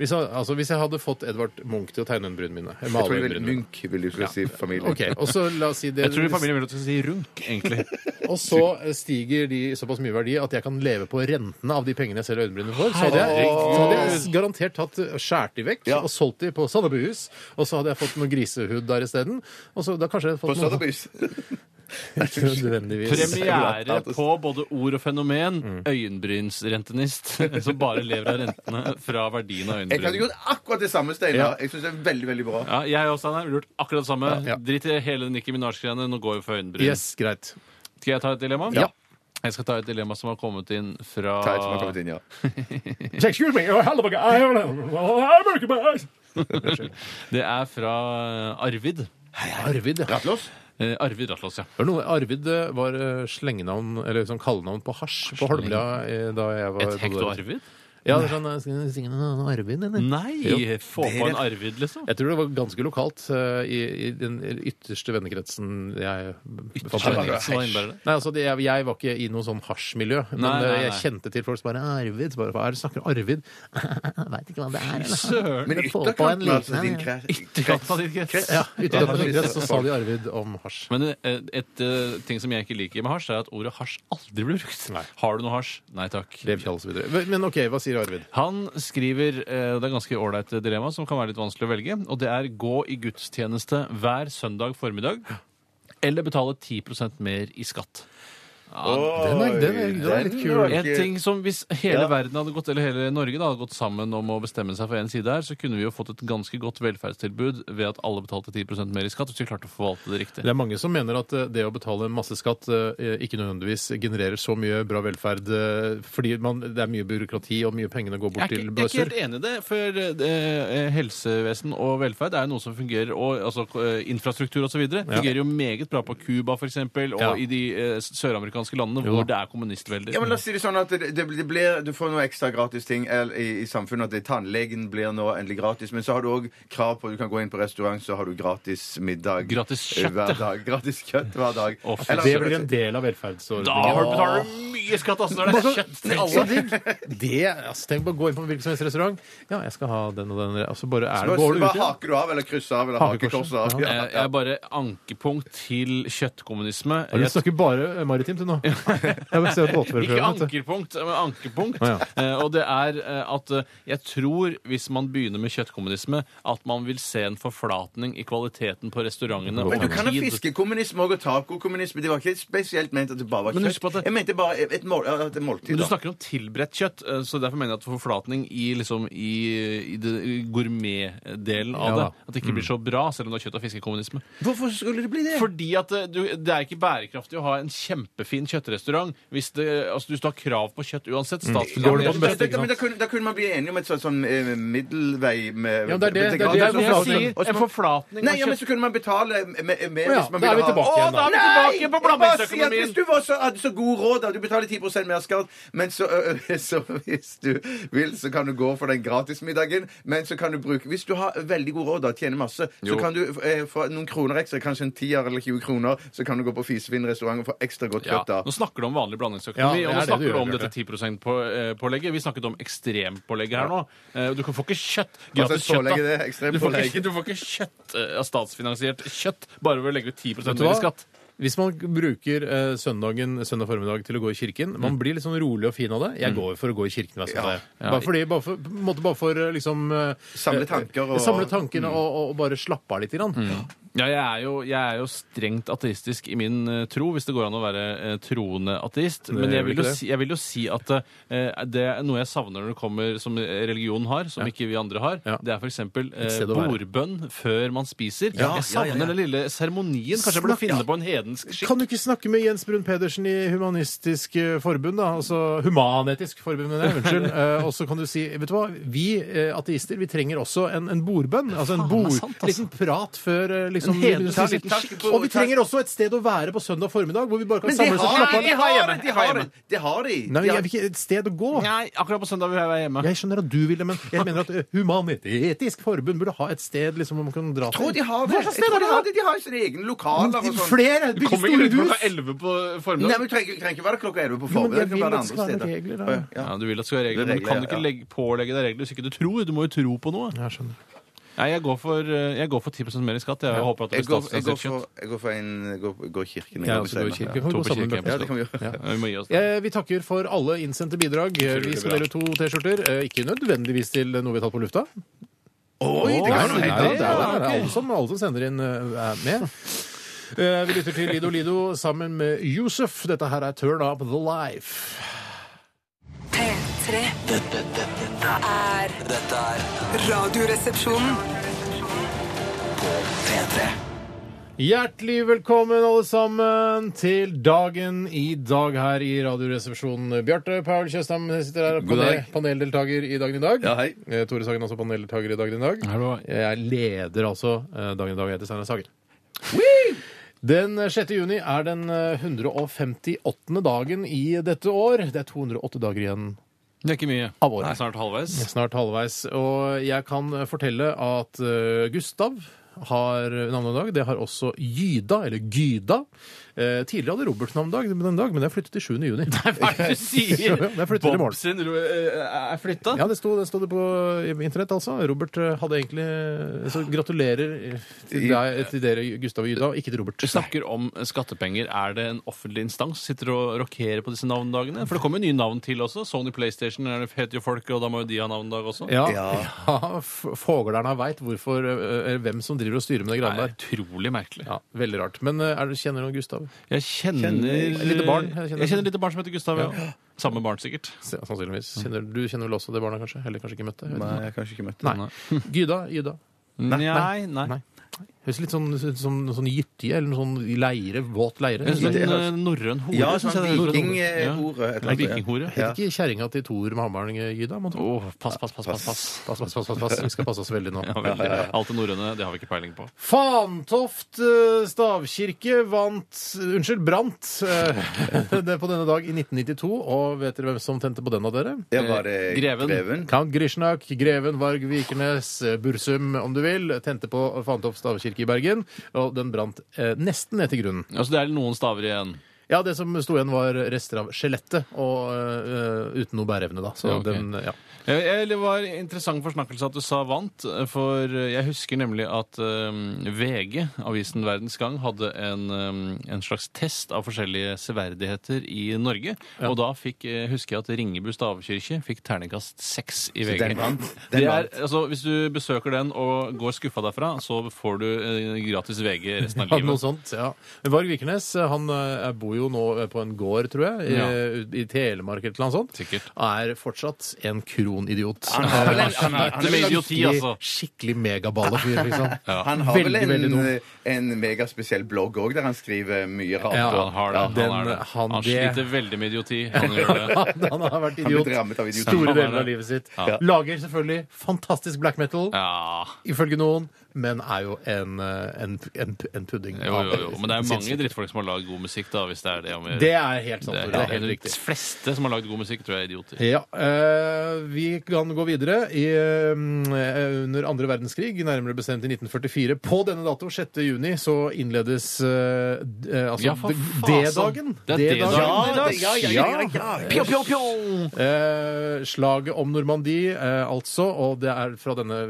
hvis jeg, altså, hvis jeg hadde fått Edvard Munch til å tegne øyenbrynene mine Jeg Jeg tror maler jeg vil øyenbrynene mine. Munch, vil du skal si, familien. Ok, og så la oss si det Jeg tror familien vil at du skal si runk, egentlig. (laughs) Og så eh, stiger de såpass mye verdi at jeg kan leve på rentene av de pengene jeg selger øyenbrynene for. Så hadde jeg, så hadde jeg garantert tatt skjært de vekk og solgt de på Sandebys. Og så hadde jeg fått noe grisehud der isteden. Og så da kanskje jeg hadde På fått noe Sotheby's. nødvendigvis. Premiere på både ord og fenomen. Øyenbrynsrentenist. (laughs) Som bare lever av rentene fra verdien av Jeg hadde øyenbryn. gjort akkurat det samme, Steinar. Jeg syns det er veldig, veldig bra. Ja, jeg også, Steinar. Gjort akkurat det samme. Ja, ja. Drit i hele Nikki Minaj-greiene. Nå går vi for øyenbryn. Yes, greit. Skal jeg ta et dilemma? Ja. Jeg skal ta et dilemma som har kommet inn fra Ta et som har kommet inn, ja. Excuse me. oh, hello, I don't know. Oh, I'm working my eyes. Det er fra eh, Arvid. Arvid, ja. Rattlås? Eh, Arvid Ratlås, ja. Hør nå, Arvid eh, var eh, slengenavn, eller sånn kallenavn på hasj på Holmlia eh, da jeg var Et hekto Arvid? Ja, det er sånn, eh, skal vi synge noe om Arvid, eller? Nei! Få på en Arvid, liksom. Jeg tror det var ganske lokalt eh, i, i den ytterste vennekretsen jeg befant Hva meg i. innebærer det? Nei, altså, det, jeg, jeg var ikke i noe sånn hasjmiljø, men Nei, nei, eh, nei. jeg kjente til folk som bare «Ah, Arvid. Så bare, hva er det du snakker om? Arvid? (laughs) Veit ikke hva det er. eller? Søren! Men Men få på en ytterkanten, altså. liten, Din ja. krets. Ytterkanten av din krets. Ja, uten at jeg så sa de Arvid om hasj. Men eh, et eh, ting som jeg ikke liker med hasj, er at ordet hasj aldri blir brukt. Nei. Har du noe hasj? Nei takk. Revkjall og så videre. Men- Men OK, hva sier Arvid? Han skriver eh, Det er ganske ålreit dilemma som kan være litt vanskelig å velge. Og det er gå i gudstjeneste hver søndag formiddag eller betale 10 mer i skatt. Den er, den er, den er litt kul. En ting som Hvis hele Ja. verden hadde gått, eller hele Norge da, hadde gått sammen om å bestemme seg for én side her, så kunne vi jo fått et ganske godt velferdstilbud ved at alle betalte 10 mer i skatt hvis vi klarte å forvalte det riktig. Det er mange som mener at eh, det å betale masse skatt eh, ikke nødvendigvis genererer så mye bra velferd, eh, fordi man, det er mye byråkrati og mye pengene går bort Jeg er, til ikke, jeg er ikke bøsser. helt enig i det, for eh, helsevesen og velferd er jo noe som fungerer, og altså, eh, infrastruktur osv. videre fungerer jo meget bra på Cuba f.eks., og Ja. i de eh, søramerikanske landene Jo da. hvor det er kommunistvelder. Ja, men la oss si det sånn at det, det det blir, Du får noe ekstra gratis ting eller, i, i samfunnet. At det, tannlegen blir nå endelig gratis. Men så har du òg krav på Du kan gå inn på restaurant, så har du gratis middag Gratis eh, kjøtt, ja. hver dag. Gratis kjøtt hver dag. Å, fy, Eller- Det blir en del av velferdsordningen. da har du betaler du mye skatt, altså! Når det er kjøtt til alle! Så digg! Det, altså, tenk på å gå inn på en hvilken som helst restaurant. Ja, jeg skal ha den og den. Og så bare er det, Hva går du hva ut igjen. haker du av, eller krysser av, eller Hakekorset. hakekorset av? Ja. Jeg, Eh, jeg er bare ankepunkt til kjøttkommunisme. Du Jeg snakker bare eh, maritimt, du (laughs) nå. Jeg vil se et båtførerprøve, Ikke vet du. ankerpunkt, men ankepunkt. Å, Eh, og det er eh, at eh, jeg tror, hvis man begynner med kjøttkommunisme, at man vil se en forflatning i kvaliteten på restaurantene. Men du over kan ha tid. fiskekommunisme og tacokommunisme. Det var ikke spesielt ment at det bare var Men husk på kjøtt. at det- Jeg mente bare et, mål, et måltid. Men du da. snakker om tilberedt kjøtt, eh, så derfor mener jeg at forflatning i, liksom, i, i det- i gourmetdelen av Ja det da. At det ikke blir så bra, selv om det er kjøtt- og fiskekommunisme. Hvorfor skulle det bli det? Fordi at eh, du, det er ikke bærekraftig å ha en kjempefin kjøttrestaurant hvis, det, altså, hvis du har krav på kjøtt uansett. Går det på den Statsfinansiert beste, kjøtt. ikke Da, men da, kunne, da kunne man bli enige om et sånt sånn, eh, middelvei Ja, med men det er det- det er Det er det jeg forflatning. sier. En forflatning Nei, av ja, men kjøtt. så kunne man betale mer Å ja, hvis man da er ville vi tilbake igjen, da. Å, da er vi tilbake på jeg bare sier at blandingsøkonomien. Hvis du var så, hadde så god råd, da, du betaler 10 mer skatt, men så, ø, ø, (laughs) så hvis du vil, så kan du gå for den gratismiddagen, men så kan du bruke Hvis du har veldig god råd, da, tjener masse, så kan du eh, få noen kroner ekstra, kanskje en tier eller 20 kroner, så kan du gå på Fisefinn restaurant og få ekstra godt Ja, kjøtt da. nå snakker du om vanlig blandingsøkonomi, Ja, det er det og nå du snakker du gjør, om dette 10 %-pålegget. Vi snakket om ekstrempålegget her nå. Eh, Du kan få ikke kjøtt. Gratis Altså, kjøtt, pålegget, det da. er ekstremt Du får pålegg. ikke, du får ikke kjøtt eh, av statsfinansiert kjøtt bare ved å legge ut 10 Vet du mer hva? i skatt. Hvis man søndagen, søndagen, søndag formiddag til å gå i kirken Man blir litt sånn rolig og fin av det. Jeg går for å gå i kirken. hver søndag. Bare, fordi, bare for, på en måte bare for eh, liksom eh, Samle eh, tanker og- Samle tankene og, og bare slappe av litt. Grann. Ja, jeg er, jo, jeg er jo strengt ateistisk i min eh, tro, hvis det går an å være eh, troende ateist. Men jeg gjør vil, ikke jo det. si, jeg vil jo si at eh, det er noe jeg savner når det kommer som religion har, som ikke vi andre har. Ja. Det er f.eks. Eh, sted å være. bordbønn før man spiser. Ja, jeg savner ja, ja, ja. den lille seremonien. Kanskje jeg burde Snakk- finne på en hedensk skikk. Kan du ikke snakke med Jens Brun Pedersen i Humanistisk eh, Forbund, da? Altså Human-Etisk Forbund, mener jeg. (laughs) Unnskyld. Eh, og så kan du si Vet du hva, vi eh, ateister vi trenger også en, en bordbønn. Altså en Faen, det er bord, sant, altså. liten prat før eh, liksom En hederssak. begynne å spise litt Takk, skikk. takk. Og vi trenger også et sted å være på søndag formiddag, hvor vi bare kan Men de samles og har slappe det! av. De har det! De Jeg var har hjemme. det! De har det. Nei, men De jeg har- vil ikke et sted å gå. Nei, akkurat på søndag vil jeg være hjemme. Jeg skjønner at du vil det, men jeg mener at ø, Human-Etisk Forbund burde ha et sted liksom, hvor man kan dra tror de har det. Hva slags Jeg sted tror er de det? har det. De har jo sine egne lokaler og sånn. Flere! Du Bygge kommer ikke store ut klokka hus! 11 på Nei, formiddag. men du trenger, trenger ikke være klokka 11 på Jo, men jeg formiddagen. det kan vil være at det skal andre være steder. regler, da. Å, ja. Ja, Du vil at det skal være regler, Det er men du kan regler, ikke ja. legge, pålegge deg regler hvis ikke du tror. Du må jo tro på noe. Jeg skjønner. Nei, jeg går for, eh, jeg går for 10 mer i skatt. Jeg håper at det Jeg blir går, jeg går statsfinansiert for, jeg går for en går, går kirken. Jeg går også går i kirke. senere. Kan vi To gå på sammen kirke, med Ja, det kan vi gjøre. Ja, vi må gi oss det. Eh, Vi takker for alle innsendte bidrag. Vi skal dele to T-skjorter. eh, Ikke nødvendigvis til noe vi har tatt på lufta. Oi, det Nei, kan nei, nei, jo hende. det er det er alle som, alle som sender inn, eh, er med. Eh, Vi lytter til Lido Lido sammen med Yusuf. Dette her er Turn Up The Life. P3 Dette, dette, dette, er dette er Radioresepsjonen. P3. Hjertelig velkommen alle sammen til dagen i dag her i Radioresepsjonen. Bjarte Paul Tjøstheim sitter her, God panel, dag. paneldeltaker i dagen i dag. Ja, hei. Eh, Tore Sagen også paneldeltaker i dagen i dag. Hallo. Jeg er leder altså eh, dagen i dag. Jeg heter Steinar Sagen. Den 6. juni er den eh, 158. dagen i dette år. Det er 208 dager igjen Det er ikke mye. av året. Det er snart (laughs) halvveis. Snart halvveis. Og jeg kan fortelle at eh, Gustav har navnedag. Det har også Gyda, eller Gyda. Eh, tidligere hadde Robert navnedag den dag, men det er flyttet til 7. juni. (laughs) Hva er det du Jo, jo, jeg flytter i morgen. Bob sin ro- eh, er flytta? (laughs) Ja, det sto det, sto det på eh, internett, altså. Robert eh, hadde egentlig eh, Så gratulerer eh, til, deg, til dere, Gustav og Gyda, og ikke til Robert. Du snakker om skattepenger. Er det en offentlig instans som sitter og rokerer på disse navnedagene? For det kommer jo nye navn til også. Sony PlayStation er det- heter jo folket, og da må jo de ha navnedag også. Ja, (laughs) ja. Ja. f- Foglerna veit hvorfor eh, Eller hvem som driver og styrer med de Det greiene der. er utrolig merkelig. Ja, Veldig rart. Men eh, er det, kjenner du Gustav? Jeg kjenner, Kjenner- lite barn, jeg kjenner- Jeg kjenner lite barn som heter Gustav. Ja. Samme barn, sikkert. S- Sannsynligvis. Mm. Kjenner, du kjenner vel også det barna, kanskje? Eller kanskje ikke møtte? Jeg vet Nei, ikke. jeg har kanskje ikke møtt Nei. (laughs) Gyda. Gyda. Nei, nei. Nei. Høres litt sånn ut som som sånn gytje eller noe sånn leire, våt leire. En sånn Jeg eh, norrøn hore. Ja, synes sånn jeg det er. vikinghore. Ja. En Vikinghore. Ja. Heter ikke kjerringa til Thor med hammeren eh, Gyda? må tro. Åh, pass, pass, pass, pass. pass. Pass, pass, pass, pass, pass. Vi skal passe oss veldig nå. Ja, veldig. Alt det norrøne, det har vi ikke peiling på. Fantoft eh, stavkirke vant Unnskyld, brant eh, (laughs) det på denne dag i 1992. Og vet dere hvem som tente på den av dere? Ja, var det Greven. Greven? Count Grishnak, Greven, Varg Vikernes, eh, Bursum, om du vil, tente på Fantoft stavkirke i Bergen, og den brant eh, nesten ned til grunnen. Altså, det er noen staver igjen. Ja, det som sto igjen var rester av skjelettet, og eh, uten noe bæreevne, da. Så Ja, ok. den, ja. Jeg, jeg, det var interessant forsnakkelse at du sa vant, eh, for jeg husker nemlig at eh, VG, avisen Verdens Gang, hadde en, eh, en slags test av forskjellige severdigheter i Norge. Og da fikk, eh, husker jeg at Ringebu stavkirke fikk terningkast seks i VG. den vant. Det Den er, altså, hvis du besøker den og går skuffa derfra, så får du eh, gratis VG resten av Hadde noe livet. sånt, ja. Men Varg Vikernes han eh, bor jo nå på en gård, tror jeg, i, eh, i Telemark eller noe sånt. Sikkert. Er fortsatt en kronidiot. (laughs) har vel en- han har- han er vel en idioti, altså. Skikkelig (laughs) megaballefyr, liksom. Han har vel Veldig, veldig en, dum. en megaspesiell blogg òg, der han skriver mye rart. Ja, Han har det. Den- Han, er det. han- han det- sliter veldig med idioti. Han gjør (laughs) det. (laughs) Han har vært Han blir idiot rammet av idioti. store Han er deler av det. livet sitt. Ja. Lager selvfølgelig fantastisk black metal, Ja. ifølge noen, men er jo en, eh, en, en, en pudding. Jo, jo, jo. Men det er mange Sinnssykt. drittfolk som har lagd god musikk, da, hvis det er det. om å gjøre. Det er helt sant. Det Tore. er, Det er helt helt De riktig. fleste som har lagd god musikk, tror jeg er idioter. Ja, eh, Vi kan gå videre. I, eh, under andre verdenskrig, nærmere bestemt i 1944, på denne dato, 6. juni, så innledes eh, d- eh, altså, Ja, for faen, D-dagen. Det er D-dagen. D-dagen. Ja, det- ja, ja, ja, ja, ja. Pjo, pjo, pjo! Eh, slaget om Normandie, eh, altså, og det er fra denne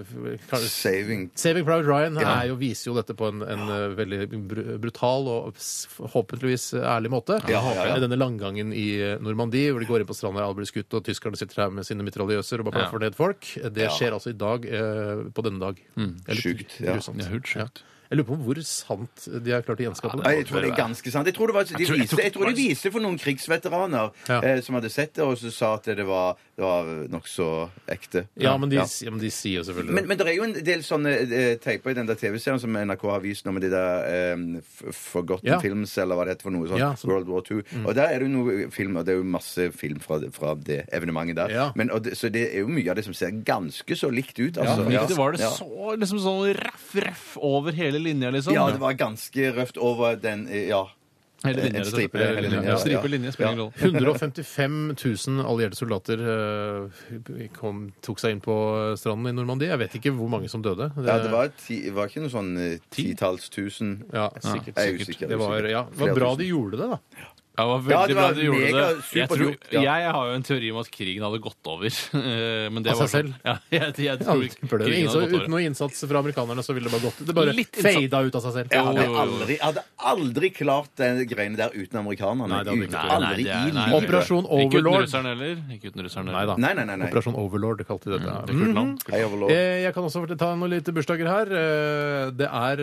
Saving Saving Private Ryan er jo, viser jo dette på en, en eh, veldig br brutal og s- forhåpentligvis eh, ærlig måte. Ja, ja, ja. Eh, Denne langgangen i eh, Normandie, hvor de går inn på stranda, alle blir skutt, og tyskerne sitter her med sine mitraljøser og bare Ja. plaffer ned folk. Det skjer altså i dag, eh, på denne dag. Det er litt Mm. Sjukt, ja. grusomt. Ja, helt sjukt. Ja. Jeg lurer på hvor sant de har klart å gjenskape Nei, det. jeg tror det er ganske sant. Jeg tror, det var, de, tror- jeg viste, tror- jeg tror de viste for noen krigsveteraner Ja. eh, som hadde sett det, og så sa at det var, det var nokså ekte. Ja, men de, ja, men de sier jo selvfølgelig Men, men det er jo en del sånne eh, teiper i den der TV-serien som NRK har vist nå med de der eh, f- Forgotten Ja. Films, eller hva det heter for noe sånt. Ja, så- World War II. Og der er det jo noe film, og det er jo masse film fra, fra det evenementet der. Ja. Men, og det, så det er jo mye av det som ser ganske så likt ut, Ja, altså. men det sånn, var det Ja. så liksom sånn raff, raff over hele hele linja, liksom? Ja, det var ganske røft over den eh, Ja. Hele linja, En liksom. stripe, det er hele linja, ja. Stripe linje spiller ingen rolle. 155 000 allierte soldater eh, kom, tok seg inn på eh, stranden i Normandie. Jeg vet ikke hvor mange som døde. Det, Ja, det var, ti, var ikke noe sånn eh, titalls tusen. ja, sikkert. Jeg er sikkert. usikker, Det var, usikker. ja, det Flere var bra tusen. de gjorde det, da. Ja, det var Ja, veldig det bra var du gjorde mega det. Jeg, tror, superduper, ja. jeg har jo en teori om at krigen hadde gått over. (laughs) eh, Men det Av var seg sånn- Ja, (laughs) jeg, jeg Ja, tror det tipper det. krigen Ingen, så, hadde gått uten over. noe innsats fra amerikanerne så ville det bare gått Det bare Litt innsats. fada ut av seg selv. Jeg hadde Jo, jo, jo. aldri, jeg hadde aldri klart den greiene der uten amerikanerne. Nei, det hadde ikke Uten- klart. aldri Nei, det er- i nei, livet. Operasjon Ikke uten Overlord. russeren heller. Ikke uten russeren Nei heller. da. Nei, nei, nei, nei. Operasjon Overlord kalte de dette. Mm. Det er kult navn. Hei, overlord. Eh, Jeg kan også fortelle- ta noen lite bursdager her. Eh, Det er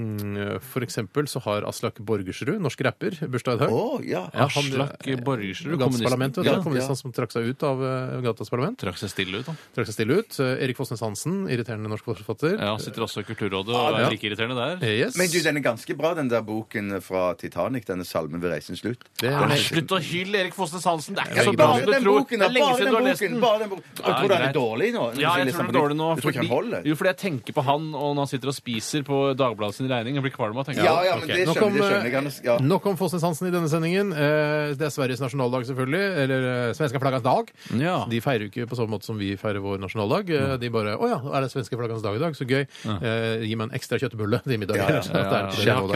mm, For eksempel så har Aslak Borgersrud, norsk rapper, bursdag i dag. Å, ja. Ja, han- Aslak Borgersrud, Ugandas parlament, vet kommunisten. du. Ja, Kommunisten ja. som trakk seg ut av eh, Ugandas parlament. Trakk seg stille ut, da. Trakk seg stille ut. Eh, Erik Fossnes Hansen, irriterende norsk forfatter. Ja, sitter også i Kulturrådet og ja. er like irriterende der. Eh, Yes. Men du, den er ganske bra, den der boken fra Titanic, denne salmen ved reisens slutt. Det er- Nei, Slutt å hylle Erik Fosnes Hansen! Det er Ja, ikke så men bra Bare som du den tror! Det boken, da! er lenge Bare siden den du har lest boken! den. Bare den boken. Og Jeg Ja, tror den greit. er dårlig nå. Ja, jeg tror den er dårlig nå. Du tror ikke fordi- han holder? Jo, fordi jeg tenker på han og når han sitter og spiser på Dagbladet sin regning og blir kvalm av tenker Ja, jeg. ja, men Ok, det nok om, skjønner, det skjønner eh, jeg. Han- Ja. Nok om Fossnes Hansen i denne sendingen. Eh, Det er Sveriges nasjonaldag, selvfølgelig. Eller eh, svenske flaggans dag. Ja. De feirer jo ikke på samme måte som vi feirer vår nasjonaldag. Eh, De bare 'Å ja, er det svenske flaggans dag i dag? Så gøy. Eh, Gi meg en ekstra kjøttbulle til middag.' Ja, ja,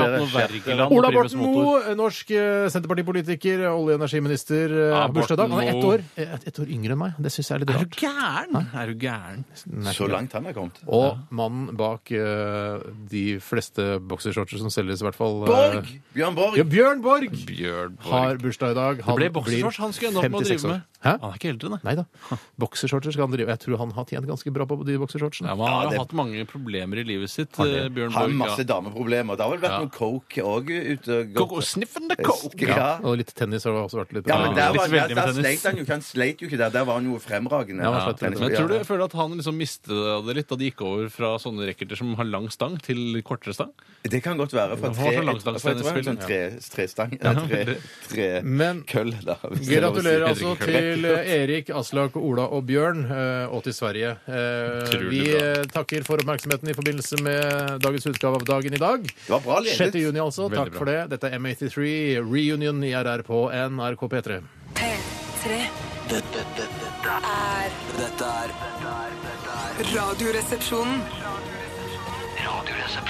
(laughs) Det er ikke det nå, da. Jeg har ikke hatt noe Wergeland Ola og Primus Borten Motor. Moe, norsk eh, senterpartipolitiker, olje- og energiminister, eh, Ja, har bursdag i dag. Han er ett Borten Moe. år, eh, ett år yngre enn meg. Det syns jeg er litt Er du rart. gæren? Er du gæren? Så langt han har kommet. Og mannen bak eh, de fleste boksershortser som selges, i hvert fall eh, Borg! Bjørn Borg! Ja, Bjørn Borg! Bjørn har bursdag i dag. Det ble boksershorts han skulle ende opp med å 56 drive år. med. Hæ? Han er ikke eldre, nei. Nei da. Boksershortser skal han drive Jeg tror han har tjent ganske bra på de Ja, boksershortsene. men han har det- hatt mange problemer i livet sitt, eh, Bjørn Har Borg. masse ja. dameproblemer. Det har vel vært noe coke òg ute og gått. Coco, sniffen the coke! Ja. Og litt tennis har det også vært litt Ja, men der, Litt var, der, veldig med der tennis. sleit han jo ikke. Han sleit jo ikke der. Der var han jo fremragende. Ja, han Ja, sleit men tennis. jeg tror du jeg føler at han liksom mista det litt da de gikk over fra sånne racketer som har lang stang, til kortere stang? Det kan godt være. Fra Det var så tre, langstang- fra et- fra en sånn tre, trestang eller tre, tre Men- køll, da. hvis det er lov å si. Gratulerer altså til Erik, Aslak, Ola og Bjørn, eh, og til Sverige. Eh, Utrolig Vi bra. eh, takker for oppmerksomheten i forbindelse med dagens utgave av Dagen i dag. Det var bra ledet. 6. juni, altså. Veldig Takk bra. for det. Dette er M83, reunion i RR på NRK P3. P3 Dette, dette, dette, er dette er dette er- dette er Radioresepsjonen.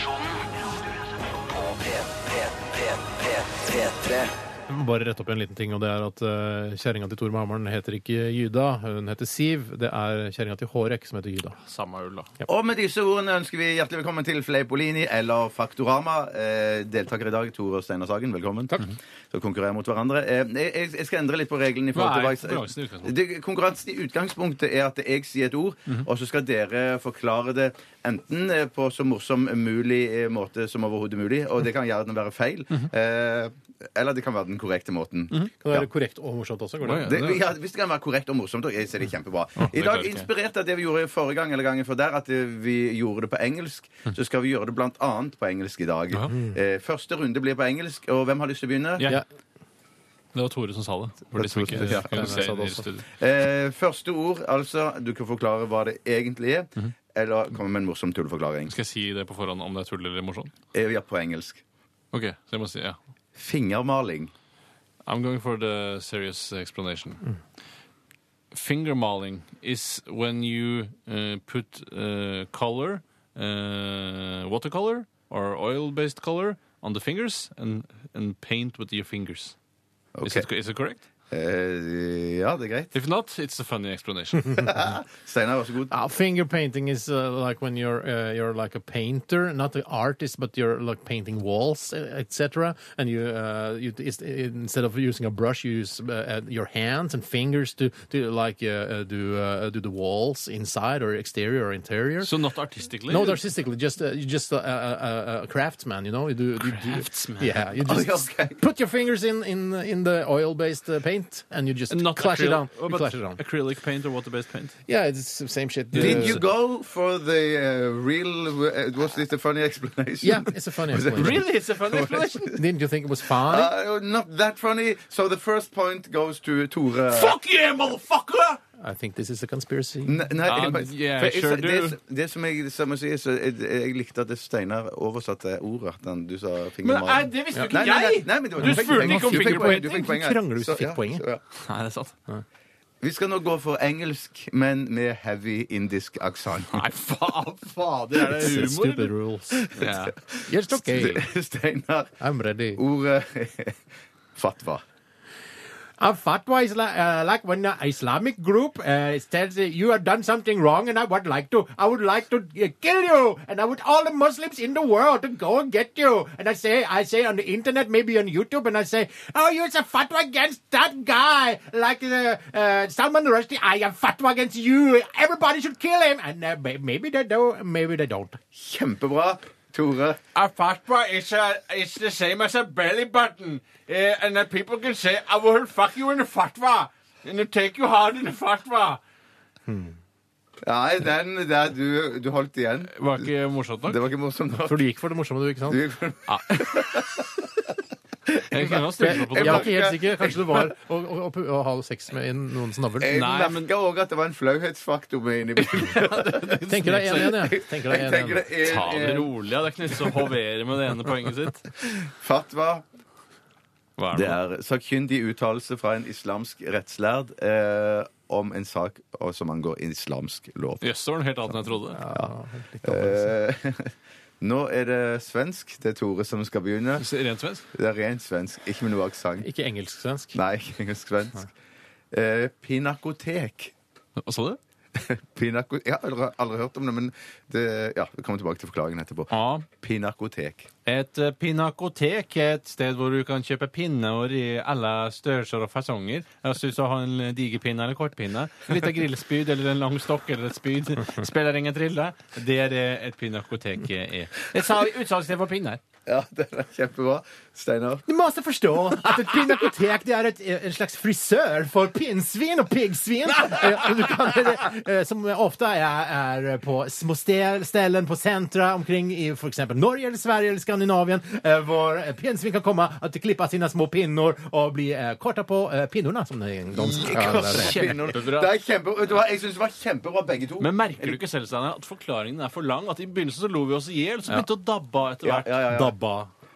Radioresepsjonen på P, P, P, P, P3. Jeg må bare rette opp en liten ting, og det er at uh, kjerringa til Tor med Hammeren heter ikke Gyda, hun heter Siv. Det er kjerringa til Hårek som heter Gyda. Samme ull, da. Og med disse ordene ønsker vi hjertelig velkommen til Fleipolini eller Faktorama. Eh, deltakere i dag, Tore og Steinar Sagen, velkommen. Takk. Så konkurrerer mot hverandre. Eh, jeg, jeg skal endre litt på reglene. i forhold til Hva er konkurransen i hva jeg- utgangspunktet? Det- Konkurransen i utgangspunktet er at jeg sier et ord, og så skal dere forklare det enten eh, på så morsom mulig eh, måte som overhodet mulig, og det kan gjerne være feil, eh, eller det kan være den korrekte måten. Kan det være korrekt og morsomt også? Går det? Oi, ja. Mm. Det, ja, hvis det kan være korrekt og morsomt, og jeg ser det kjempebra. I det klarer dag, ikke jeg. inspirert av det vi gjorde forrige gang, eller gangen før der, at eh, vi gjorde det på engelsk, så skal vi gjøre det blant annet på engelsk i dag. Mm. Ja. Mm. Eh, første runde blir på engelsk, og hvem har lyst til å begynne? Ja. Ja. Det var Tore som sa det. For de som ikke Ja, kan jeg se sa det det i også. studio. Eh, første ord, altså. Du kan forklare hva det egentlig er. Mm-hmm. Eller komme med en morsom tulleforklaring. Skal jeg si det på forhånd om det er tull eller morsomt? Eh, Ja, på engelsk. Ok, så jeg må si ja. Fingermaling. I'm going for the serious explanation. Finger maling is when you uh, put uh, color, uh, watercolor or oil-based color on the fingers and, and paint with your fingers. Is, it, is it correct? Eh, ja, det er greit. If not, it's a funny (laughs) explanation. Steinar, vær så god. Ah, finger painting is uh, like when you're uh, you're like a painter, not an artist, but you're like painting walls, etc. And you, uh, you it's, instead of using a brush, you use uh, uh, your hands and fingers to to like uh, uh, do uh, do the walls inside or exterior or interior. so not artistically. No, artistically, just uh, you just uh, uh, uh, a craftsman, you know. You do, craftsman. yeah, you just yeah, okay. put your fingers in in in the oil-based uh, paint, and you just not clash acryl- it down. Oh, You but clash it down. Acrylic paint or water-based paint. Yeah, it's the same shit. Did Uh, you go for the uh, real uh, Was this a funny explanation? Yeah, it's a funny (laughs) Was it- explanation. Really? (laughs) It's a (laughs) funny explanation? Didn't you think it was fun? Uh, not that funny. So the first point goes to Tore. yeah, motherfucker! I think this is a conspiracy. Nei, nei, Ja, jeg bare- yeah, for jeg- sure det, do. som- det som jeg, som jeg sier, så jeg, jeg likte at Steinar oversatte ordet at han, du sa finger Men i nei, magen. det visste jo Nei, ikke nei, nei, jeg! nei, men det var- Du fikk spurte poenget. ikke om Du fikk fingerpointing. poenget, Du fikk poenget. krangler hvis du Så- fikk ja, poenget. så ja. Nei, det er sant. Vi skal nå gå for engelsk, men med heavy indisk aksent. Nei, faen, (laughs) fader, er (laughs) det humor? Stupid eller? rules. Ja. Yes, okay. Steinar, I'm ready. ordet (laughs) fatwa. A fatwa is like, uh, like when an Islamic group uh, says uh, you have done something wrong, and I would like to, I would like to uh, kill you, and I would all the Muslims in the world to go and get you. And I say, I say on the internet, maybe on YouTube, and I say, oh, you it's a fatwa against that guy, like uh, uh, Salman Rushdie. I have fatwa against you. Everybody should kill him. And uh, may- maybe they do, maybe they don't. Kjempebra, Tore. A fatwa is, a, is the same as a belly button. Uh, and then people can say, I will fuck you in a fatwa. And they take you hard in a fatwa. Nei, den der du, du holdt igjen. Det var ikke morsomt nok. Det var ikke morsomt nok. du gikk for det morsomme, du, ikke sant? Jeg kunne ha stilt meg på Jeg det. var ikke helt er sikker. Kanskje det var å, ha sex med noens navl. Jeg Nei, merket men- merka òg at det var en flauhetsfaktor med inni (laughs) bildet. Tenker deg 1-1, jeg. Tenker Jeg tenker det er, Ta det er rolig, ja. det er ikke nytt å hovere med det ene poenget sitt. fatwa. Hva Det er sakkyndig uttalelse fra en islamsk rettslærd eh, om en sak og som angår islamsk lov. Jøss, det var noe helt annet enn jeg trodde. Eh, (laughs) nå er det svensk. Det er Tore som skal begynne. Rent svensk. Det er rent svensk, ikke med noe aksent. Ikke engelsk-svensk. Nei, ikke engelsk-svensk. Eh, pinakotek. Hva sa du? Pinako jeg har aldri, aldri hørt om det, men det, ja, vi kommer tilbake til forklaringen etterpå. Ja. Pinakotek. Et eh, pinakotek er et sted hvor du kan kjøpe pinner i alle størrelser og fasonger. Altså Hvis du har en diger pinne eller kortpinne, en liten grillspyd eller en lang stokk eller et spyd, (laughs) spiller ingen trille. Det er det et pinakotek er. Et sa- utsalgssted for pinner. (laughs) Ja, den er kjempebra. Steinar. Du må også forstå at et pinakotek det er et, en slags frisør for pinnsvin og piggsvin. Eh, og du kan- eh, Som ofte er, er på små stel, ställen på sentra omkring i f.eks. Norge eller Sverige eller Skandinavien, eh, hvor pinnsvin kan komme og klippe sine små pinner og bli eh, korta på eh, pinnorna, som det en gang kalles. Kjempebra. Det er kjempe, vet du hva, jeg syns det var kjempebra, begge to. Men merker du ikke selv Steinar, at forklaringen er for lang? At I begynnelsen så lo vi oss i hjel, så begynte det å dabbe av etter ja, hvert. ja, ja, ja. Dabba.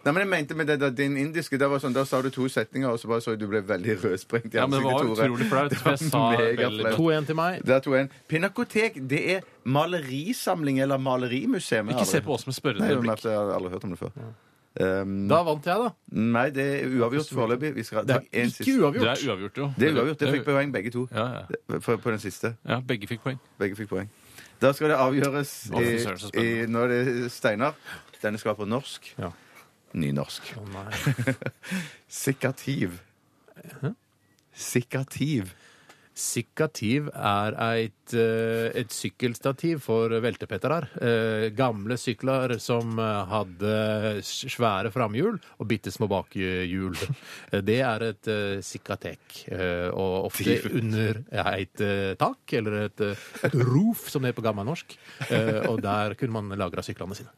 Nei, men jeg mente med det der, din indiske, det var sånn, da sa du to setninger, og så bare så jeg du ble veldig rødsprengt i Ja, men det ansiktet, var Tore. utrolig flaut, Det (laughs) for jeg var sa megaflaut. veldig- 2-1 til meg. Der tok jeg en. Pinakotek, det er malerisamling eller malerimuseum. Ikke se på oss med Nei, spørrende men blikk. at jeg har aldri hørt om det før. Um, Da vant jeg, da. nei, det er uavgjort foreløpig. Vi skal Det ta er en ikke siste. Det er uavgjort. uavgjort, jo. Det er uavgjort. Det fikk poeng, begge to. Ja, ja. For, på den siste. ja, begge fikk poeng. Begge fikk poeng. Da skal det avgjøres Å, i, fy søren, så i spennende. Nå er det Steinar. Denne skal være på norsk. Ja. Nynorsk. Å, nei. (laughs) Sikkativ. Sikkativ. Sikkativ er et, eh, et sykkelstativ for veltepetterar. Eh, Gamle sykler som eh, hadde s- svære framhjul og bitte små bakhjul. Eh, Det er et eh, sikkatek. eh, Og ofte under et eh, tak, eller et, eh, et roof, som det heter på gammelnorsk. Eh, Og der kunne man lagra syklene sine.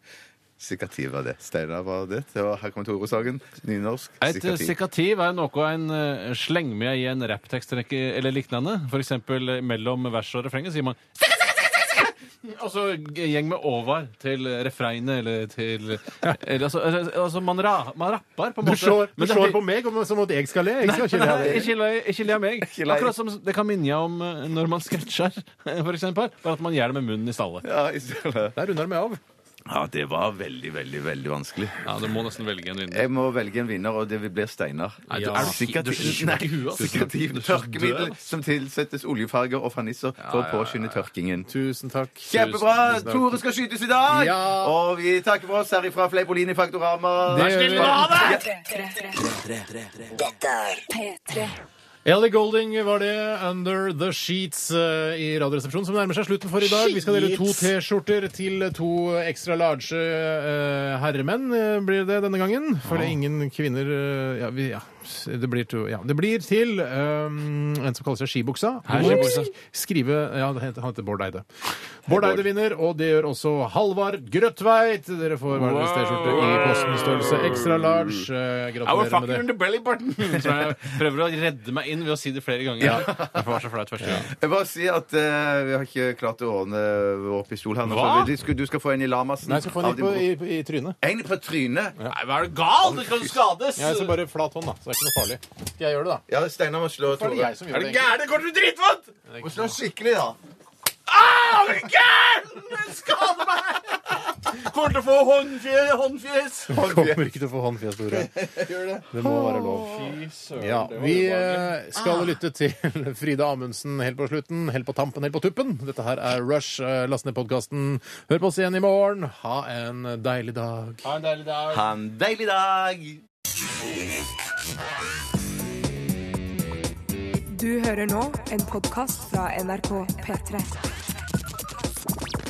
Sikkativ var det. Steinar var det. det var, her kommer Tore-sagen. Nynorsk. Et eh, Sikkativ. sikkativ er noe en eh, slenger med i en rapptekst eller ikke- eller lignende. For eksempel eh, mellom vers og refrenget sier man «Sikka, sikka, sikka, sikka!» og så g- gjeng med over til refrenget eller til eller, altså, altså, altså man, ra, man rapper på en måte. Men det- meg som om jeg skal le. (laughs) Nei, Ikke le- ikke le av meg. le. Akkurat som det kan minne jeg om eh, når man sketsjer, (laughs) f.eks. Bare at man gjør det med munnen i stallet. Ja, i stedet. Der runder det meg av. ja, det var veldig, veldig, veldig vanskelig. Ja, Du må nesten velge en vinner. Jeg må velge en vinner, og det blir Steinar. Nei, du Ja. er du- Sikkativ- du slår Nei, i huet, altså. sikkativ Du er så død, tørkemiddel altså. som tilsettes oljefarger og fernisser for å påskynde tørkingen. Tusen takk. Kjempebra! Tore skal skytes i dag! Ja. Og vi takker for oss herifra Fleipolini Faktorama. Det gjør vi. Ellie Golding var det. Under the Sheets eh, i Radioresepsjonen, som nærmer seg slutten for i dag. Vi skal dele to T-skjorter til to ekstra large eh, herremenn, eh, blir det denne gangen. For det er ingen kvinner eh, ja, vi, ja, det blir to Ja, det blir til eh, en som kaller seg Skibuksa. Du Hei, må Skibuksa. sk- Skrive Ja, han heter han heter Bård Eide. Bård Eide vinner, og det gjør også Halvard Grøtveit. Dere får hver deres T-skjorte i posten størrelse extra large. Eh, Gratulerer med det. belly button! (laughs) Så jeg prøver å redde meg inn ved å si det flere ganger. Det var så flaut første gang. Jeg bare sier at eh, vi har ikke klart å ordne vår pistol her nå. Hva? så vi- Du skal, du skal få en i Lamassen. Nei, jeg skal få den Av i, på, din- i, i trynet. En på trynet? Nei, hva er du gal? Du kan skades! Jeg ser bare flat hånd, da, så det er ikke noe farlig. Skal jeg gjøre det, da? Ja, Steinar må slå Hvorfor er det Tore. jeg som gjør det? egentlig? Gæren, det går til dritvondt! Må slå skikkelig, da. Ah, er du gæren! Det skader meg! Kommer til å få håndfjes. håndfjes. Jeg Kommer ikke til å få håndfjes, (laughs) Tore. Det må være lov. Ja, Vi eh, Ah. skal lytte til (laughs) Frida Amundsen helt på slutten. Helt på tampen, helt på tuppen. Dette her er Rush. Eh, Last ned podkasten. Hør på oss igjen i morgen. Ha en deilig dag. Ha en deilig dag. Ha en deilig dag! Du hører nå en podkast fra NRK P3.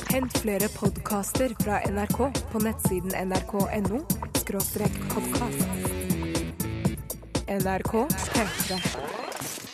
Hent flere podkaster fra NRK på nettsiden nrk.no podkast. NRK P3.